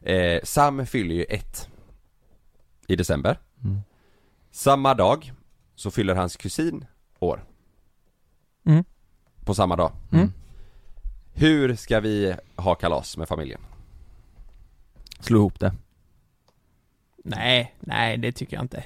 D: Eh, Sam fyller ju ett i december. Samma dag så fyller hans kusin år.
F: Mm.
D: På samma dag.
F: Mm.
D: Hur ska vi ha kalas med familjen?
E: Slå ihop det
F: Nej, nej det tycker jag inte.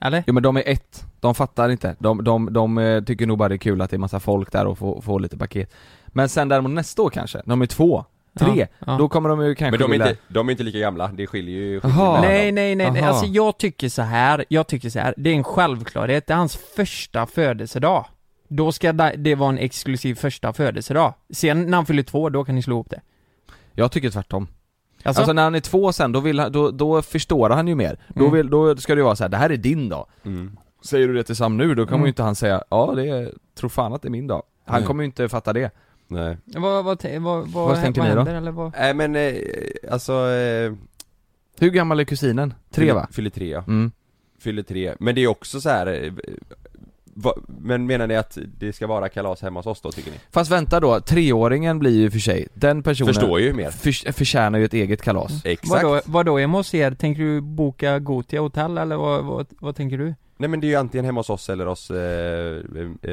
F: Eller?
E: Jo men de är ett, de fattar inte. De, de, de eh, tycker nog bara det är kul att det är massa folk där och får, får lite paket. Men sen däremot nästa år kanske, när de är två, tre,
F: Ja, ja.
E: då kommer de ju kanske
D: Men de är,
E: vilja...
D: inte, de är inte lika gamla, det skiljer ju
E: Jaha.
D: skiljer mellan
F: Nej,
D: dem.
F: nej, nej, nej.
E: Aha.
F: Alltså jag tycker så här. jag tycker så här. det är en självklarhet, det är hans första födelsedag. Då ska da- det vara en exklusiv första födelsedag. Sen när han fyller två, då kan ni slå ihop det.
E: Jag tycker tvärtom.
F: Alltså,
E: Alltså, när han är två sen, då, vill han, då, då förstår han ju mer. Då,
F: Mm.
E: vill, då ska det ju vara så här: det här är din dag.
D: Mm.
E: Säger du det till Sam nu, då kommer
F: Mm.
E: ju inte han säga ja det är, tror fan att det är min dag. Han
D: Nej.
E: kommer ju inte fatta det.
D: nej.
F: vad, vad, vad, vad,
E: Vad tänker ni då?
F: händer, eller vad?
D: Nej men, eh, alltså... Eh,
E: Hur gammal är kusinen? Tre
D: fyller-
E: va?
D: Fyller tre ja.
E: Mm.
D: Fyller tre. Men det är också så här. eh, va, men menar ni att det ska vara kalas hemma hos oss då tycker ni?
E: Fast vänta då, treåringen blir ju för sig, den personen
D: Förstår ju mer.
E: förs- förtjänar ju ett eget kalas.
D: Exakt.
F: Vadå, vadå hemma hos er? Tänker du boka Gotia hotell eller vad, vad, vad tänker du?
D: Nej men det är ju antingen hemma hos oss eller hos eh,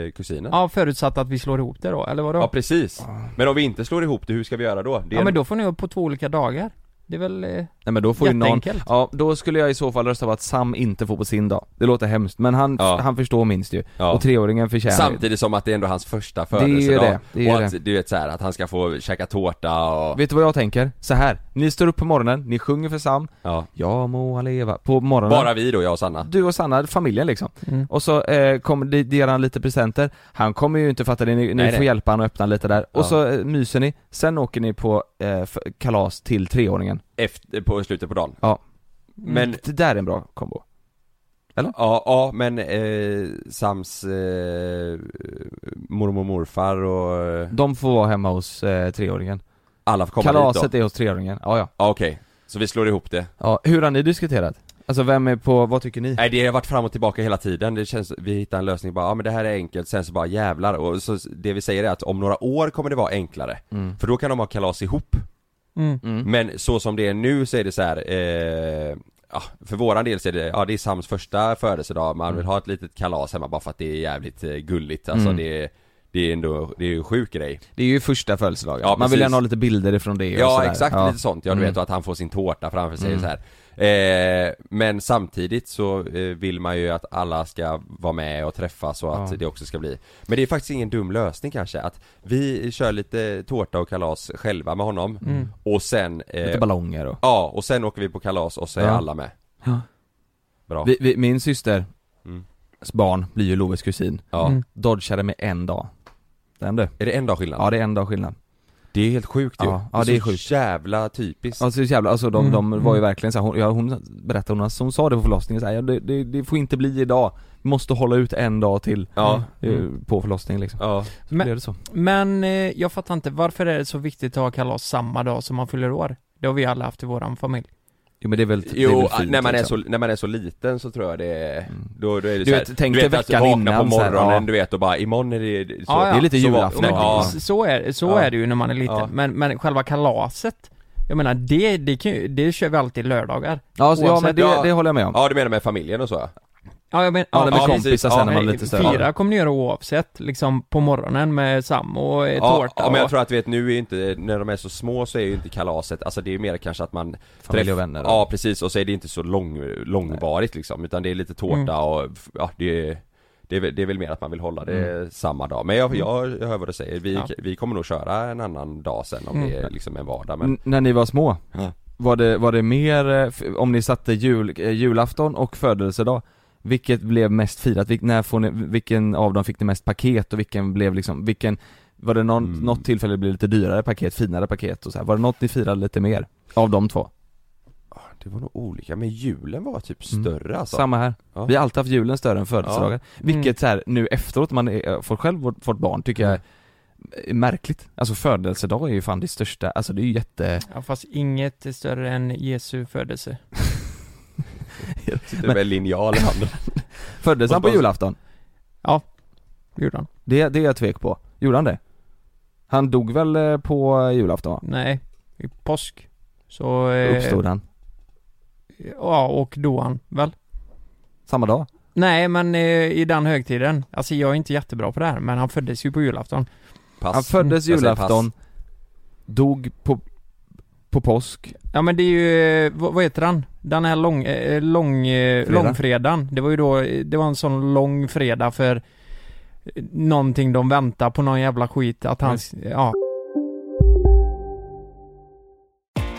D: eh, kusinen.
F: Ja, förutsatt att vi slår ihop det då, eller vadå?
D: Ja
F: Ja,
D: precis. Men om vi inte slår ihop det, hur ska vi göra då? Det är
F: men då får ni upp på två olika dagar. Det är väl... eh,
E: Nej men då får ju någon,
F: Jätteenkelt.
E: ja då skulle jag i så fall rösta på att Sam inte får på sin dag. Det låter hemskt men han,
D: Ja.
E: han förstår minst ju.
D: Ja.
E: Och treåringen förtjänar ju.
D: Samtidigt som att det är ändå hans första
E: är ju
D: födelsedag.
E: det, det är
D: och
E: ju
D: att,
E: det.
D: du vet så här, att han ska få käka tårta och...
E: Vet du vad jag tänker? Så här. ni står upp på morgonen, ni sjunger för Sam,
D: Ja.
E: ja må han leva, på morgonen.
D: Bara vi då, jag och Sanna.
E: Du och Sanna, familjen liksom. Och så eh, kommer, det, det ger han lite presenter, han kommer ju inte fatta det, ni, ni
D: Nej,
E: får
D: nej.
E: hjälpa honom att öppna lite där.
D: Ja.
E: Och så eh, myser ni, sen åker ni på eh, f- kalas till treåringen.
D: Efter, på slutet på dagen.
E: Ja.
D: Men,
E: Det där är en bra kombo.
D: ja, ja men eh, Sams eh, mormor och morfar och eh,
E: De får vara hemma hos eh, treåringen.
D: alla får komma dit
E: Kalaset
D: då.
E: är hos treåringen, ja ja.
D: Ja okej. Så vi slår ihop det.
E: Ja, hur har ni diskuterat? Alltså vem är på, vad tycker ni?
D: Nej det har varit fram och tillbaka hela tiden, det känns, vi hittar en lösning bara, ja men det här är enkelt, sen så bara jävlar och så det vi säger är att om några år kommer det vara enklare För då kan de ha kalas ihop
F: Mm.
D: Men så som det är nu så är det så här. Eh, ja, för våran del så är det, ja det är Sams första födelsedag, man vill ha ett litet kalas hemma bara för att det är jävligt eh, gulligt alltså
E: Mm.
D: det är det är ändå, det är ju en sjuk grej.
E: Det är ju första födelsedagen,
D: Ja,
E: man vill
D: precis.
E: gärna ha lite bilder ifrån det och
D: Ja
E: sådär.
D: exakt,
E: ja.
D: lite sånt. Ja du
E: Mm.
D: vet, och att han får sin tårta framför sig och så här. Eh, men samtidigt så eh, vill man ju att alla ska vara med och träffas och att
E: Ja.
D: det också ska bli Men det är faktiskt ingen dum lösning kanske att vi kör lite tårta och kalas själva med honom
F: Mm.
D: och sen
E: Lite
D: eh,
E: ballonger och...
D: Ja, och sen åker vi på kalas och så är
E: Ja.
D: alla med
E: Ja.
D: Bra
E: Vi, vi, min systers
D: Mm.
E: barn blir ju Loves kusin.
D: Ja,
F: Mm.
E: Dodgade med en dag. Den du.
D: är det en dag skillnad?
E: Ja det är en dag skillnad.
D: Det är helt sjukt ju.
E: Ja, ja, det är
D: så
E: sjukt.
D: jävla typiskt.
E: Alltså så jävla, alltså de,
F: Mm.
E: de var ju verkligen så här, hon, ja, hon berättade, hon, hon sa det på förlossningen så här, ja, det, det, det får inte bli idag. Vi måste hålla ut en dag till
D: ja,
E: eh, på förlossningen liksom.
D: ja.
E: Så
F: Men-
E: blev det så.
F: Men eh, jag fattar inte, varför är det så viktigt att ha kalas samma dag som man fyller år? Det har vi alla haft i våran familj.
E: Jo men det är väl, det är
D: Jo, ah, alltså,
E: väl fint,
D: när, man är
E: liksom.
D: så, när man är så liten så tror jag det är,
E: Mm.
D: då, då är det
E: Du
D: så här,
E: vet, tänk dig
D: att
E: veckan
D: vakna
E: innan
D: på
E: så här,
D: morgonen
E: ja.
D: du vet och bara imorgon är det så.
F: Ja, ja.
E: Det är lite
D: Så var-
E: julafton
D: men-
E: ja.
D: ja.
F: S- Så är, så
D: Ja.
F: är det ju när man är liten,
D: Ja.
F: men, men själva kalaset Jag menar det, det, kan ju, det kör vi alltid lördagar
E: Ja, så, ja men
F: Oavsett-
E: det,
D: ja.
E: det håller jag med om.
D: Ja du menar med familjen och så ja.
F: Ja, jag men,
E: Ja, det är med
F: precis.
E: kompisar sen när man är
F: men
E: lite större.
F: Fyra kommer ni göra oavsett, liksom på morgonen med Sam och eh,
D: Ja,
F: tårta
D: ja men jag
F: och-
D: tror att du vet nu är inte, när de är så små så är ju inte kalaset, alltså det är ju mer kanske att man
E: Familj
D: träff-
E: och vänner.
D: Ja precis, och så är det inte så lång, långvarigt liksom utan det är lite tårta
F: Mm.
D: och, f- ja det är det är, väl, det är väl mer att man vill hålla det samma dag, men jag, jag, jag hör vad du säger, vi,
F: Ja.
D: vi kommer nog köra en annan dag sen om det är liksom en vardag men
E: N- när ni var små,
D: Ja.
E: var, det, var det mer, eh, f- om ni satte jul, eh, julafton och födelsedag, vilket blev mest firat? Vil, när får ni, vilken av dem fick ni mest paket och vilken blev liksom, vilken, var det någon,
D: Mm.
E: något tillfälle det blev lite dyrare paket, finare paket och så här? var det något ni firade lite mer? Av de två?
D: Det var nog olika, men julen var typ
E: Mm.
D: större alltså
E: Samma här.
D: Ja.
E: Vi har alltid haft julen större än födelsedagar, vilket så här, nu efteråt, man är, får själv vårt, vårt barn, tycker jag är märkligt. Alltså födelsedag är ju fan det största, alltså det är ju jätte...
F: ja, fast inget är större än Jesu födelse
D: Sitter
E: Men-
D: med en linjal i handen
E: Föddes han på julafton?
F: Gjorde han?
E: Det, det är jag tvek på. Gjorde han det? Han dog väl eh, på julafton? va?
F: Nej, i påsk Så... eh,
E: Uppstod han?
F: Ja, och då han väl?
E: Samma dag?
F: Nej, men eh, i den högtiden. Alltså jag är inte jättebra på det här, men han föddes ju på julafton.
D: Pass
E: Han föddes
D: Alltså, Jag säger
E: julafton, dog på, på påsk.
F: Ja men det är ju, eh, vad, vad heter han? Den här lång, eh, lång, eh,
E: Fredag.
F: långfredagen. Det var ju då, eh, det var en sån lång fredag för eh, någonting de väntar på någon jävla skit att han, ja.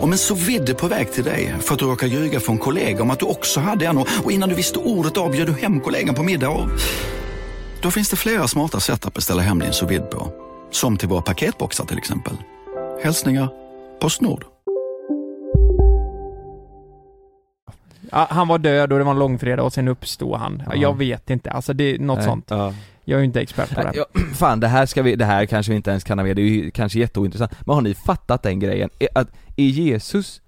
H: Om en så vidde på väg till dig för att du råkar ljuga från kollega om att du också hade en och och innan du visste ordet av bjöd du hem kollegan på middag och... Då finns det flera smarta sätt att beställa hem din sous vide på. Som till våra paketboxar till exempel. Hälsningar Postnord.
F: ja. Han var död och det var en långfredag och sen uppstod han. Ja.
E: Ja.
F: Jag vet inte, alltså det är något
E: Nej.
F: sånt.
D: Ja.
F: Jag är ju inte expert på det.
E: Ja, fan det här ska vi, det här kanske vi inte ens kan ha med, det är ju kanske jätteointressant. Men har ni fattat den grejen? Är- Att, är Jesus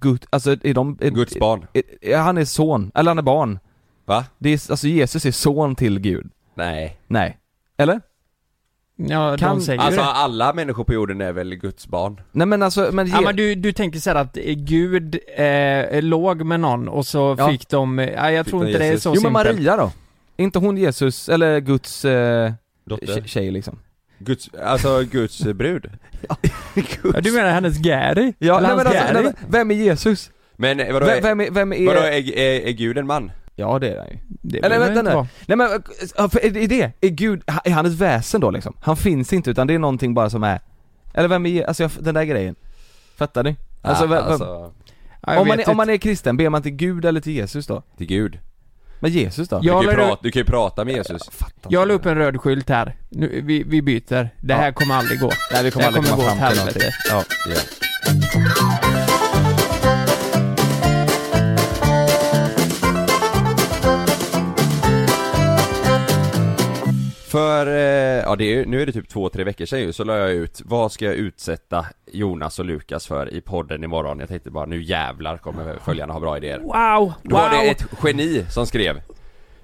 E: Gud, alltså är de... Är,
D: Guds barn,
E: är- är- han är son, eller han är barn.
D: va?
E: Det är, alltså Jesus är son till Gud.
D: Nej
E: Nej. Eller?
F: Ja, de
E: Kan-
F: säger ju
D: Alltså
F: det.
D: alla människor på jorden är väl Guds barn?
E: Nej men alltså, men,
F: Ja
E: Je-
F: men du, du tänker såhär att eh, Gud eh, låg med någon och så
E: Ja.
F: fick de, eh, ja, jag
D: Fick
F: tror
D: de
F: inte det är
D: Jesus.
F: så
E: Jo men
F: simpelt.
E: Maria då? Är inte hon Jesus, eller Guds eh, tje-
D: Dotter?
E: tjej liksom?
D: Guds, alltså Guds brud?
F: Ja, du menar hennes Gary?
E: Ja,
F: Eller
E: nej, men
F: hans
E: alltså,
F: Gary?
E: nej, men vem är Jesus?
D: Men eh, vadå,
E: Vem,
D: är,
E: vem är, vem är...
D: vadå är, är, är gud en man?
E: Ja det är han ju.
F: Det
E: Eller
F: behöver
E: vänta
F: inte
E: nu.
F: vara.
E: Nej men, ja, för är är det, är Gud, är han ett väsen då liksom? Han finns inte utan det är någonting bara som är... Eller vem är, alltså jag, den där grejen. Fattar ni? Alltså,
D: Ah,
E: vem, vem,
D: alltså
I: Ja, jag
E: om, man
I: vet
E: är, om
I: inte.
E: man är kristen, ber man till Gud eller till Jesus då?
D: Till Gud.
E: Men Jesus då?
D: Du kan, ju
F: la-
D: prata, du kan ju prata med Jesus.
F: Jag la upp en röd skylt här. Nu, vi, vi byter. Det här kommer aldrig gå.
E: Nej, vi kommer
F: det
E: aldrig komma
F: gå
E: fram
F: åt
E: till
F: helvete.
E: någonting. Ja.
D: Ja. För, eh, ja det är, ju- nu är det typ två, tre veckor sedan ju, så la jag ut Vad ska jag utsätta Jonas och Lukas för i podden imorgon? Jag tänkte bara nu jävlar kommer följarna ha bra idéer
F: Wow!
D: Då var det
F: wow.
D: ett geni som skrev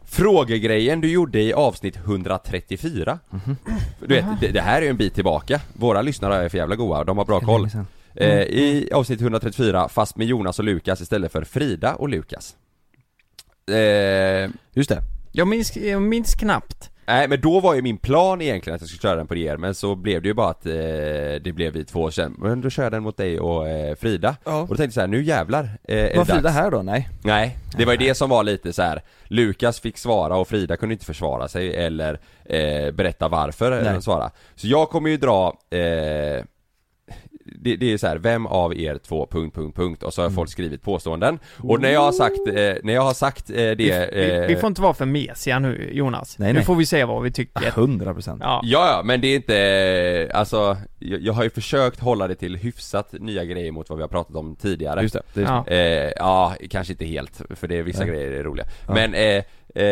D: Frågegrejen du gjorde i avsnitt 134
E: Mhm.
D: Du vet, det, det här är ju en bit tillbaka Våra lyssnare är för jävla goa, de har bra koll eh,
E: Mm.
D: I avsnitt 134, fast med Jonas och Lukas istället för Frida och Lukas eh,
E: Just det
F: Jag minns, jag minns knappt.
D: Nej men då var ju min plan egentligen att jag skulle köra den på er men så blev det ju bara att eh, det blev vi två sen Men då kör jag den mot dig och eh, Frida
E: Ja.
D: Och då tänkte jag så här, nu jävlar eh, är det
E: Var Frida
D: dags.
E: här då? Nej?
D: Nej, det var ju det som var lite så här. Lukas fick svara och Frida kunde inte försvara sig eller eh, berätta varför eller
E: Nej.
D: svara Så jag kommer ju dra eh, det, det är så här, vem av er två punkt, punkt, punkt och så har
F: Mm.
D: folk skrivit påståenden Och när jag har sagt, eh, när jag har sagt eh, det
F: Vi,
D: eh,
F: vi får inte vara för mesiga nu Jonas.
D: Nej,
F: nu
D: nej.
F: får vi säga vad vi tycker.
E: 100%
F: Ja.
D: Ja, ja, men det är inte, alltså jag, jag har ju försökt hålla det till hyfsat nya grejer mot vad vi har pratat om tidigare
E: Just det, det är
D: ja.
E: så.
D: Eh, ja, kanske inte helt, för det är vissa
E: Nej.
D: grejer är roliga
E: Ja.
D: Men eh,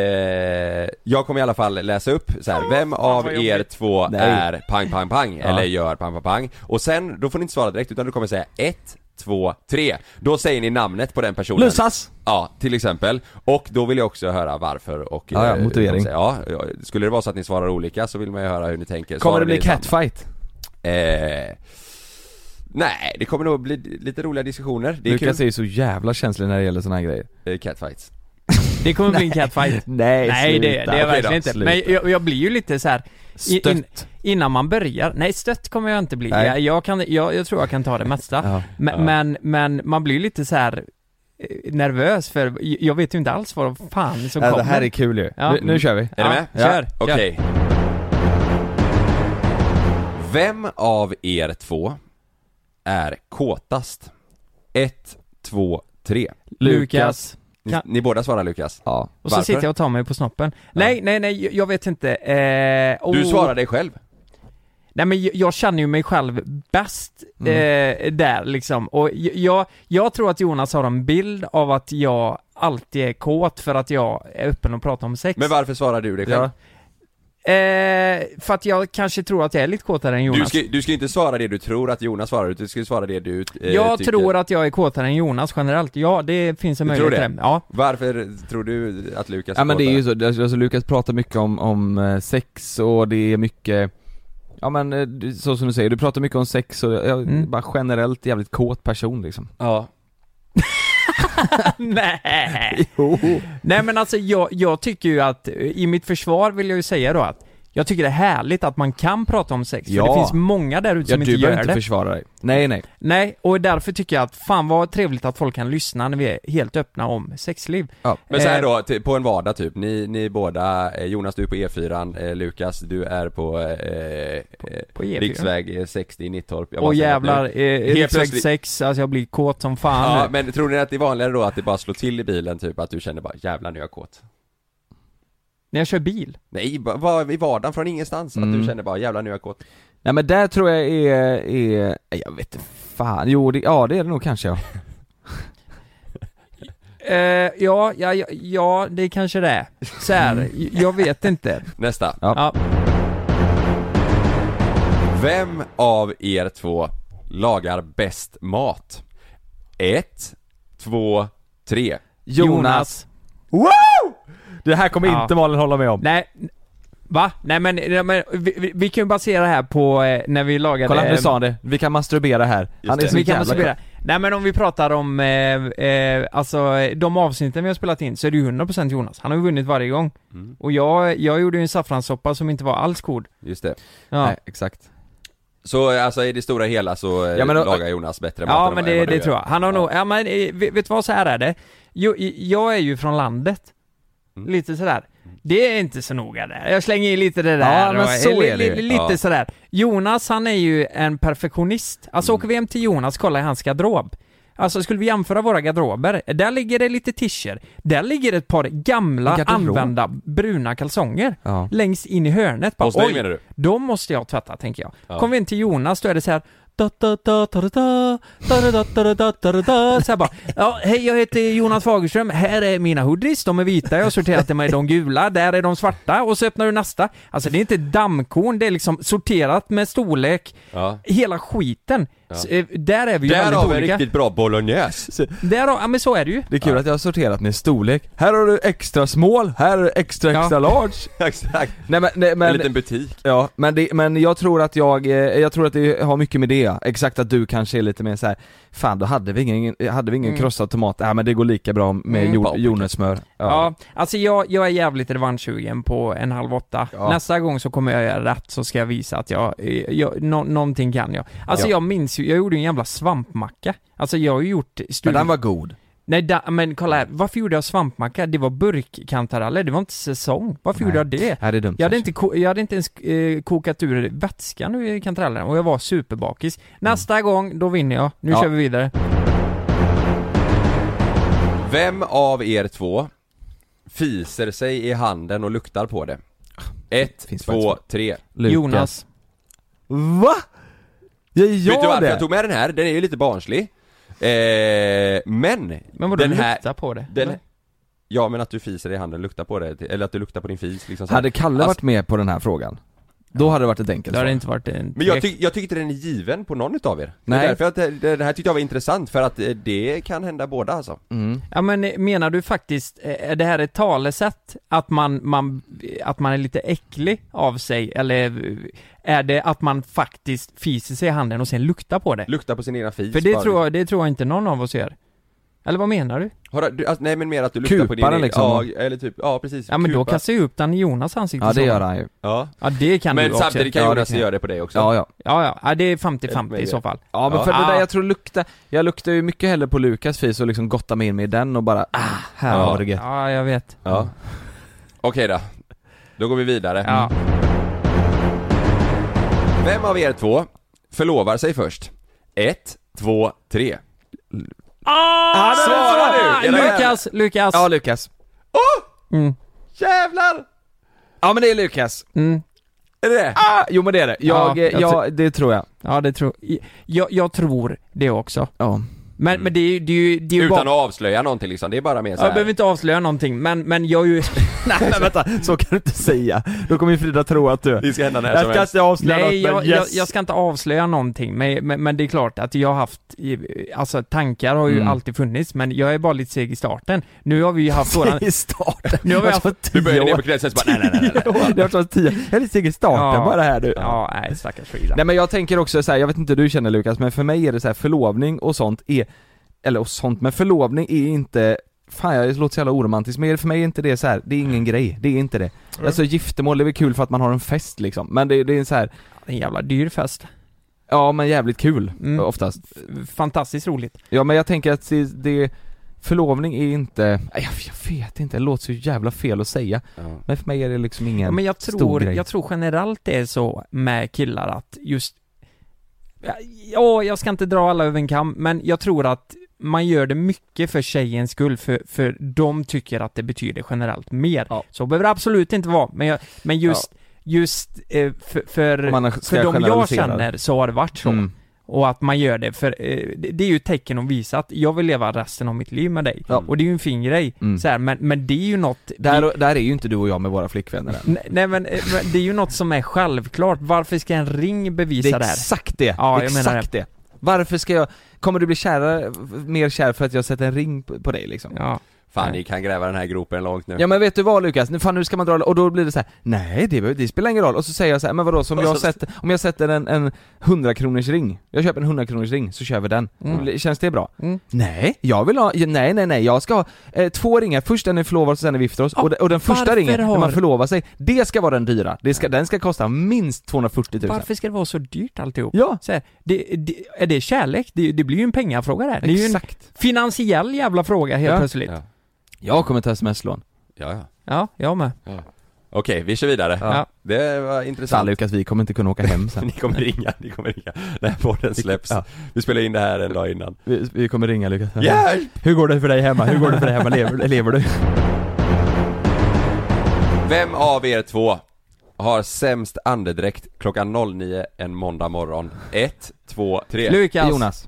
D: eh, jag kommer i alla fall läsa upp så här. vem av
F: vad
D: er
F: jobbigt.
D: två
E: Nej.
D: är pang pang pang
E: Ja.
D: eller gör pang pang pang Och sen, då får ni inte svara direkt utan du kommer säga ett, två, tre Då säger ni namnet på den personen
E: Lussas!
D: Ja, till exempel. Och då vill jag också höra varför och...
E: Ja, ja,
D: eh,
E: motivering.
D: Ja, ja, skulle det vara så att ni svarar olika så liksom- vill man ju höra hur ni tänker.
E: Kommer
D: Svarar
E: det bli
D: ni samma?
E: catfight?
D: Eh, nej, det kommer nog bli lite roliga diskussioner. Det är
E: Lukas är
D: kul.
E: ju så jävla känslig när det gäller såna här grejer
D: Eh, Catfights.
F: Det kommer bli en catfight.
E: Nej,
F: Nej det, det är
E: sluta.
F: jag
E: Okej
F: verkligen
E: då,
F: inte.
E: sluta.
F: Men jag, jag blir ju lite så här. i-
E: Stött.
F: innan man börjar. Nej stött kommer jag inte bli.
E: Nej.
F: Jag, jag, kan, jag, jag tror jag kan ta det mesta.
E: Ja.
F: Men,
E: Ja.
F: men, men man blir ju lite så här eh, nervös för jag vet ju inte alls vad fan som
E: Ja, Äh,
F: kommer.
E: Alltså, det här är kul ju. Nu, nu kör vi.
D: Är ni med?
F: Ja, kör,
D: Okej.
F: kör.
D: Vem av er två är kåtast? Ett, två, tre.
F: Lukas.
D: Ni,
F: Kan-
D: ni båda svarar Lukas.
E: Ja.
F: Och så sitter jag och tar mig på snoppen. Nej, nej, nej, jag- jag vet inte. Eh,
D: Du
F: oh.
D: svarar dig själv.
F: Nej men jag- jag känner ju mig själv bäst
D: Mm.
F: eh, där liksom. Och j- jag, jag tror att Jonas har en bild av att jag alltid är kåt för att jag är öppen och pratar om sex.
D: Men varför svarar du dig själv?
F: Eh, för att jag kanske tror att jag är lite kåtare än Jonas.
D: Du ska, du ska inte svara det du tror att Jonas svarar, utan du ska svara det du eh,
F: jag
D: tycker.
F: tror att jag är kåtare än Jonas generellt. Ja, det finns en
D: Du tror
F: möjlighet
D: det?
F: till det. Ja.
D: Varför tror du att Lukas
E: Ja men det är
D: kåtare?
E: ju så, det- alltså Lukas pratar mycket om, om eh, sex och det är mycket Ja men eh, du- så som du säger, du pratar mycket om sex och jag,
F: Mm.
E: bara generellt jävligt kåt person liksom
D: Ja
F: Nej. Nej men alltså jag, jag tycker ju att, eh, i mitt försvar vill jag ju säga då att jag tycker det är härligt att man kan prata om sex,
E: Ja.
F: för det finns många där ute
E: Ja
F: som
E: du
F: inte
E: behöver
F: gör
E: inte
F: det.
E: försvara dig Nej nej,
F: Nej, och därför tycker jag att fan vad trevligt att folk kan lyssna när vi är helt öppna om sexliv.
E: ja.
D: Men så här
F: Eh,
D: då, ty- på en vardag typ, ni, ni båda, eh, Jonas du är på E4, eh, Lukas du är på, eh,
F: på
D: eh,
F: E4.
D: riksväg eh, 60 i Nittorp Jag bara
F: Och
D: säger att nu-
F: jävlar, eh,
D: Helt
F: riksväg
D: plötsligt-
F: 6, alltså jag blir kåt som fan
D: Ja
F: nu.
D: men tror ni att det är vanligare då att det bara slår till i bilen typ, att du känner bara 'jävlar nu är jag kåt'
F: När jag kör bil.
D: Nej, ba- bara i vardagen från ingenstans,
F: Mm.
D: att du känner bara 'jävlar nu är jag kåt'
E: Nej men där tror jag är, är nej, jag vet inte fan, jo det, ja det är det nog kanske ja
F: Eh, ja, ja, ja, ja, det kanske det är. Så här, jag vet inte.
D: Nästa
E: Ja.
F: Ja.
D: Vem av er två lagar bäst mat? Ett, två, tre
E: Jonas. Wow! Det här kommer
F: Ja.
E: inte Malin hålla med om
F: Nej, va? Nej men, nej, men vi, vi, vi kan ju basera det här på eh, när vi lagade...
E: Kolla nu
F: eh,
E: sa han det, vi kan masturbera här Han är
D: det.
E: så
F: vi kan
E: jävla
F: basera.
E: kåt.
F: Nej men om vi pratar om, eh, eh, alltså eh, de avsnitten vi har spelat in så är det ju 100% Jonas. Han har ju vunnit varje gång. Och jag, jag gjorde ju en saffranssoppa som inte var alls god.
D: Just det
F: Ja.
E: Nej exakt
D: Så eh, alltså i det stora hela så eh,
E: Ja, men då-
D: lagar Jonas bättre mat
F: Ja
D: än
F: men
D: vad-
F: det,
D: vad du
F: det
D: gör.
F: tror jag. Han har nog, ja men eh, vet vet du vad, så här är det. Jo, i- jag är ju från landet.
D: Mm.
F: Lite sådär. Det är inte så noga där. Jag slänger in lite det där
E: men
F: och,
E: så
F: li-
E: är det ju.
F: li- Lite
D: Ja. Mm.
F: sådär. Jonas han är ju en perfektionist. Alltså åker vi hem till Jonas, kollar i hans garderob. Alltså skulle vi jämföra våra garderober, där ligger det lite tischer, där ligger ett par gamla
E: Garderob?
F: använda bruna kalsonger.
E: Ja.
F: Längst in i hörnet.
D: Hos dig
F: "Oj,
D: menar du?"
F: De måste jag tvätta, tänker jag.
D: Ja.
F: Kommer in till Jonas, då är det så här da, da, da, da, da, da, da, da, da, da, da, da, da, da. Så här bara, ja, hej jag heter Jonas Fagerström, här är mina hoodies, de är vita, jag har sorterat dem i de gula, där är de svarta och så öppnar du nästa. Alltså det är inte dammkorn, det är liksom sorterat med storlek,
D: Ja.
F: hela skiten.
D: Ja.
F: Så, eh, där är vi ju
D: Där
F: väldigt
D: har vi en
F: olika.
D: riktigt bra bolognese.
F: Där har, ja men så är det ju.
E: Det är kul att jag har sorterat med storlek. Här har du extra small, här har du extra
F: Ja.
E: extra large.
D: Exakt.
E: Nej men, nej,
D: En
E: men
D: liten butik.
E: Ja, men, det, men jag tror att jag, eh, jag tror att det har mycket med det ja. exakt att du kanske är lite mer så här. fan då hade vi ingen, hade vi ingen
F: Mm.
E: krossad tomat, nej men det går lika bra med
F: Mm.
E: jord, jordnötssmör.
F: Ja, alltså jag, jag är jävligt revanschsugen på en halv åtta.
E: Ja.
F: Nästa gång så kommer jag göra rätt så ska jag visa att jag, eh, jag nå- någonting kan jag. Alltså
E: Ja.
F: jag minns ju, jag gjorde ju en jävla svampmacka. Alltså jag har ju gjort
E: Men
F: studier.
E: den var god.
F: Nej da, men kolla här, varför gjorde jag svampmacka? Det var burkkantareller, det var inte säsong. Varför
E: Nej.
F: gjorde jag det?
E: Ja, det är dumt.
F: Jag hade,
E: kanske.
F: inte, ko- jag hade inte ens eh, kokat ur vätskan ur kantarellerna och jag var superbakis. Nästa gång, då vinner jag. Nu
E: Mm. Ja.
F: kör vi vidare.
D: Vem av er två fiser sig i handen och luktar på det? Ett,
E: Finns
D: två,
E: faktiskt.
D: tre. Vet
E: Lukas.
F: Jonas.
E: Va? Gör
D: du varför
E: jag det?
D: jag tog med den här? Den är ju lite barnslig. Eh, men,
F: Men vadå,
D: den här...
F: lukta på det?
D: Den,
F: eller?
D: ja men att du fiser i handen, luktar på det, eller att du luktar på din fis liksom så här.
E: Hade Kalle varit med på den här frågan, då hade Alltså- det varit ett enkelt
F: Det har
E: svar.
F: inte varit en
D: Men jag, tyck, jag tycker inte den är given på någon utav er. Nej. Det
E: Nej.
D: är därför att det- det- den här tyckte jag var intressant, för att eh, det kan hända båda alltså.
E: Mm.
F: Ja men eh, menar du faktiskt, eh, är det här ett talesätt? Att man, man, eh, att man är lite äcklig av sig? Eller eh, är det att man faktiskt fiser sig i handen och sen luktar på det?
D: Lukta på sin egna fis
F: För det
D: bara.
F: tror, jag, det tror jag inte någon av oss gör. Eller vad menar du?
D: Har du- du, alltså, nej men mer att du luktar på din
E: Kupar den
D: egen-
E: liksom.
D: Ja, eller typ, ja precis.
F: Ja men då
D: Kupa.
F: kastar jag upp den i Jonas ansikte
E: Ja det
F: så.
E: gör han ju.
D: Ja.
F: Ja det kan du
D: Men
F: också.
D: samtidigt kan
F: Ja,
D: Jonas
F: det kan jag.
D: göra det på dig också.
E: Ja ja.
F: Ja ja, ja det är 50-50 i
D: Maybe.
F: så fall.
E: Ja men
D: Ja.
E: för det där,
F: Ah.
E: jag tror lukta, jag luktar ju mycket hellre på Lukas fis och liksom gottar mig in mig i den och bara ah, här
D: Ja.
E: var det gött.
F: Ja jag vet.
D: Ja. Okej då. Då går vi vidare.
F: Ja.
D: Vem av er två förlovar sig först? Ett, två, tre.
F: Ah,
D: svarar du! Eller-
F: Lukas, Lukas!
E: Ja Lukas.
F: Mm.
D: Jävlar!
E: Ja men det är Lukas.
F: Mm.
D: Är det det?
E: Ah, jo men det är det. Jag,
F: Ja,
E: eh,
F: jag
E: jag, det tror jag.
F: Ja det tror jag, jag tror det också.
E: Ja.
F: Men, men det är ju, det är ju, det är ju
D: Utan
F: bara-
D: att avslöja någonting liksom, det är bara mer
F: Ja, Jag behöver
D: såhär.
F: inte avslöja någonting, men, men jag är ju...
E: Nej men vänta, så kan du inte säga. Då kommer ju Frida tro att du...
D: Det ska hända när
E: Jag
D: som
E: ska
D: helst.
E: inte avslöja
F: Nej,
E: något
F: jag,
E: men yes.
F: jag, jag ska inte avslöja någonting, men, men, men det är klart att jag har haft, eh, alltså tankar har ju
E: Mm.
F: alltid funnits, men jag är bara lite seg i starten. Nu har vi ju haft våran...
E: I starten.
F: Nu har vi haft-
E: varit
D: Du
E: tio
D: börjar ner på
E: år.
D: knäset bara nej nej nej, nej.
E: Det har varit så tio. Jag är lite seg i starten
F: Ja.
E: bara här nu.
F: Ja, nej stackars Frida.
E: Nej men jag tänker också så här, jag vet inte hur du känner Lukas, men för mig är det så här förlovning och sånt är, eller och sånt, men förlovning är inte Fan jag låter så jävla oromantisk, men för mig är inte det så här. det är ingen grej, det är inte det. Alltså giftermål, det är väl kul för att man har en fest liksom, men det, det är så här.
F: En jävla dyr fest.
E: ja men jävligt kul
F: Mm.
E: oftast.
F: F- Fantastiskt roligt.
E: Ja men jag tänker att det, det förlovning är inte, Nej, jag, jag vet inte, det låter så jävla fel att säga,
D: Ja.
E: men för mig är det liksom ingen
F: Ja, men jag
E: stor
F: tror,
E: grej.
F: jag tror generellt det är så med killar att just... Ja, Ja, jag ska inte dra alla över en kam, men jag tror att man gör det mycket för tjejens skull, för, för de tycker att det betyder generellt mer.
E: Ja.
F: Så behöver det absolut inte vara, men, jag, men just, just eh, för, för,
E: Om man ska
F: för de jag
E: generalisera.
F: känner så har det varit så.
E: Mm.
F: Och att man gör det, för eh, det, det är ju ett tecken att visa att jag vill leva resten av mitt liv med dig.
E: Ja.
F: Och det är ju en fin grej,
E: Mm.
F: så här, men, men det är ju något... det-
E: Där, där är ju inte du och jag med våra flickvänner än.
F: Nej, nej men eh, men det är ju något som är självklart, varför ska en ring
E: Det
F: bevisa
E: är
F: det här?
E: exakt det,
F: Ja,
E: det är
F: jag menar
E: exakt det. Varför ska jag, kommer du bli kärare, mer kär för att jag sätter en ring på på dig liksom? Ja.
F: Ja.
D: Fan ni kan gräva den här gropen långt nu.
E: men vet du vad Lukas, nu, fan nu ska man dra och då blir det så här: nej det, behöver- det spelar ingen roll, och så säger jag så här, men vadå, som
D: Och
E: jag
D: så-
E: sätter, om jag sätter en, en 100 kronors ring, jag köper en 100 kronors ring så kör vi den,
F: Mm.
E: känns det bra?
F: Mm.
E: Nej, jag vill ha, nej nej nej, jag ska ha eh, två ringar, först en när vi förlovar oss och sen när vi gifter oss, och, de, och den första
F: varför
E: ringen, när
F: har-
E: man förlovar sig, det ska vara den dyra, det ska, den ska kosta minst 240 000
F: Varför ska det vara så dyrt alltihop?
E: Ja,
F: Så här, det, det, är det kärlek? Det, det blir ju en pengafråga där. Det är ju en
E: exakt.
F: finansiell jävla fråga helt
E: Ja.
F: plötsligt.
D: Ja.
E: Jag kommer ta sms-lån.
D: Ja, ja.
F: Ja, jag med.
D: Okej, vi kör vidare.
F: Ja.
D: Det var intressant.
E: Sally Lukas, vi kommer inte kunna åka hem sen.
D: Ni kommer ringa, ni kommer ringa när podden släpps.
E: Ja.
D: Vi spelar in det här en dag innan.
E: Vi, vi kommer ringa Lukas.
D: Hjälp!
E: Hur går det för dig hemma? Hur går det för dig hemma? Lever, lever du?
D: Vem av er två har sämst andedräkt klockan 09 en måndag morgon? 1, 2, 3.
F: Lukas.
E: Jonas.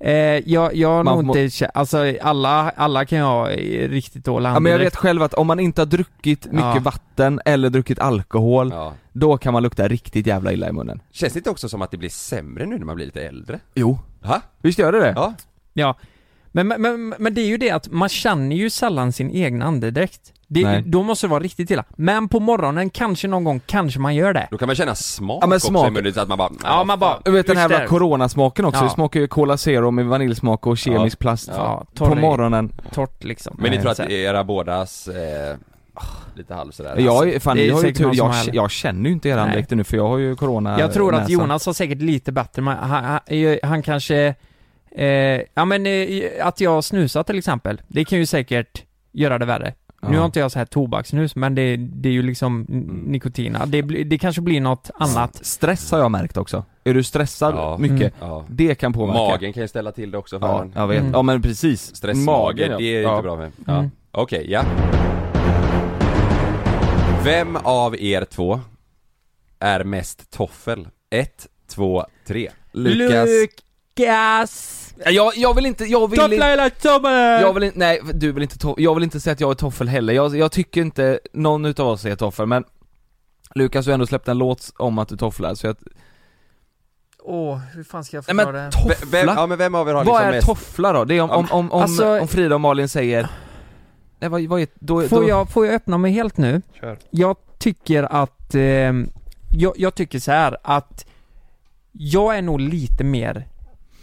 F: Eh, jag, jag har
E: Man
F: nog
E: må-
F: inte känt, alltså alla, alla kan jag ha eh, riktigt dålig
E: Ja, men jag vet
F: andedräkt.
E: själv att om man inte har druckit mycket
F: Ja.
E: vatten eller druckit alkohol,
D: Ja.
E: då kan man lukta riktigt jävla illa i munnen.
D: Känns det inte också som att det blir sämre nu när man blir lite äldre?
E: Jo.
D: Ha?
E: Visst gör det det?
D: Ja.
F: Ja. Men, men, men, men det är ju det att man känner ju sällan sin egen andedräkt. Det,
E: Nej.
F: då måste det vara riktigt illa. Men på morgonen, kanske någon gång, kanske man gör det.
D: Då kan man känna smak,
E: Ja, men
D: också i
E: smak-
D: munnen så att man bara... "Ah,
F: Ja, man bara...
E: Du vet den här
F: just
E: jävla
F: det.
E: coronasmaken också,
F: Ja.
E: det smakar ju Cola Zero med vaniljsmak och kemisk plast
F: Ja,
E: på
F: torr i-
E: morgonen.
F: Torrt liksom.
D: Men ni
E: Eh,
D: tror att
F: Så här.
D: det är era bådas... Eh, lite halv sådär.
E: Jag, är- fan,
F: det är
E: ni har ju
F: säkert någon
E: tur,
F: som
E: jag,
F: har det.
E: jag känner ju inte era
F: Nej.
E: andedräkter nu för jag har ju corona
F: Jag tror att
E: näsan.
F: Jonas har säkert lite bättre, men han, han, han kanske... Eh, ja men eh, att jag snusar till exempel, det kan ju säkert göra det värre. Nu
E: Ja. Mm.
F: har inte jag så här tobaksnus, men det, det är ju liksom n- nikotina. Det, blir- det kanske blir något annat.
E: Stress har jag märkt också. Är du stressad
D: Ja.
E: mycket,
F: Mm.
D: Ja.
E: det kan påverka.
D: Magen kan ju ställa till det också för
E: Ja,
D: en.
E: jag vet.
F: Mm.
E: Ja men precis.
D: Stressmage,
E: ja.
D: det är
E: ja.
D: inte bra med. Ja.
F: Mm.
D: Okej, ja. Vem av er två är mest toffel? Ett, två, tre.
E: Lukas.
F: Lukas!
E: Jag, jag vill inte, jag vill
F: Toppla
E: inte,
F: hela sommaren!
E: jag vill inte, nej du vill inte to- jag vill inte säga att jag är toffel heller. Jag, jag tycker inte någon utav oss är toffel men Lukas du har ändå släppt en låt om att du tofflar så jag,
F: Åh, hur fan ska jag
E: nej
F: förklara
E: men
F: det?
D: V-
E: toffla?
D: Vem, ja men vem av er har
E: vad
D: liksom
E: är
D: mest...
E: toffla då? Det är om,
D: Ja,
E: om, om, om,
F: alltså-
E: om Frida och Malin säger Nej vad, vad är, då,
F: Får
E: då,
F: jag, får jag öppna mig helt nu?
D: Kör.
F: Jag tycker att, eh, jag, jag tycker så här att jag är nog lite mer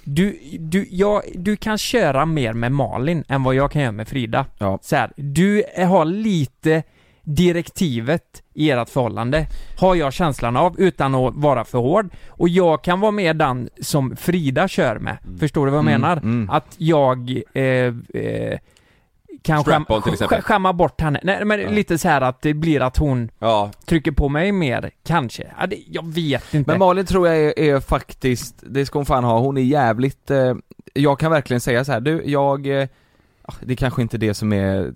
F: du, du, jag, du kan köra mer med Malin än vad jag kan göra med Frida.
E: Ja.
F: Så här, du har lite direktivet i ert förhållande, har jag känslan av, utan att vara för hård. Och jag kan vara med den som Frida kör med. Förstår du vad jag
E: Mm,
F: menar?
E: mm.
F: Att jag eh, eh, kan
D: Strap-on
F: skäm-
D: till exempel.
F: skä- skämma bort henne. Nej men
D: Ja.
F: lite så här att det blir att hon
D: Ja,
F: trycker på mig mer, kanske. Ja, det, jag vet inte.
E: Men Malin tror jag är, är faktiskt, det ska hon fan ha, hon är jävligt eh, Jag kan verkligen säga så här, du, jag eh, ah, Det är kanske inte det som är eh,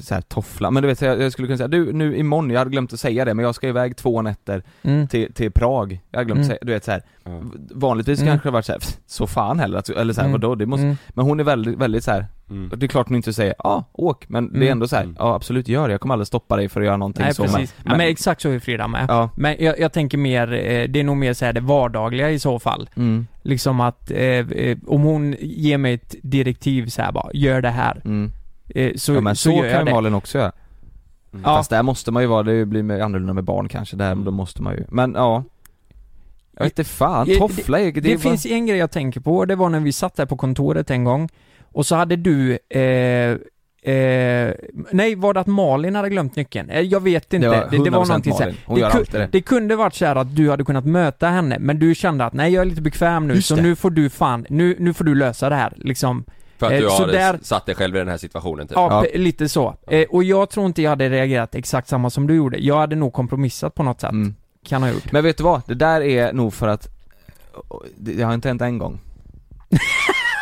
E: så här toffla, men du vet så jag, jag skulle kunna säga du, nu imorgon, jag hade glömt att säga det men jag ska iväg två nätter
F: mm.
E: till, till Prag Jag hade glömt
F: Mm.
E: säga, du vet så här.
D: Ja.
E: v- Vanligtvis
F: Mm.
E: kanske det varit så här, "Pff, så fan heller, att- eller så här,
F: Mm.
E: vadå, det måste
F: Mm.
E: Men hon är väldigt, väldigt så här.
D: mm.
E: det är klart hon inte säger ja, åk, men det
F: Mm.
E: är ändå så här,
D: Mm.
E: ja absolut gör det, jag kommer aldrig stoppa dig för att göra någonting
F: Nej
E: så
F: precis.
E: men-
F: Men, ja, men exakt så är Frida med.
E: ja,
F: Men jag, jag tänker mer, eh, det är nog mer så här det vardagliga i så fall.
E: mm,
F: Liksom att, eh, eh, om hon ger mig ett direktiv så här bara, gör det här.
E: mm.
F: Eh, så,
E: ja, men
F: så,
E: så,
F: gör
E: kan
F: jag
E: ju
F: det.
E: Malin också göra.
D: Mm.
F: Ja. Mm.
E: Fast där måste man ju vara, det blir mer annorlunda med barn kanske, där då måste man ju, men ja Jag vet inte fan,
F: Det-
E: toffla är, det,
F: Det,
E: är bara-
F: finns en grej jag tänker på, det var när vi satt där på kontoret en gång och så hade du eh, Eh, nej, var det att Malin hade glömt nyckeln? Eh, Jag vet inte.
E: Det var 100%
F: så här-
E: Malin. Hon
F: det,
E: gör
F: ku-
E: alltid det.
F: det kunde varit så här att du hade kunnat möta henne, men du kände att nej, jag är lite bekväm nu,
E: Just
F: så
E: det.
F: nu får du fan, nu, nu får du lösa det här liksom.
D: För att
F: Eh,
D: du
F: så
D: har
F: där-
D: satt dig själv i den här situationen typ.
F: Ja,
E: Ja.
F: p- lite så. Eh, och jag tror inte jag hade reagerat exakt samma som du gjorde. Jag hade nog kompromissat på något sätt.
E: mm.
F: Kan ha gjort.
E: Men vet du vad? Det där är nog för att Det, det har inte hänt en gång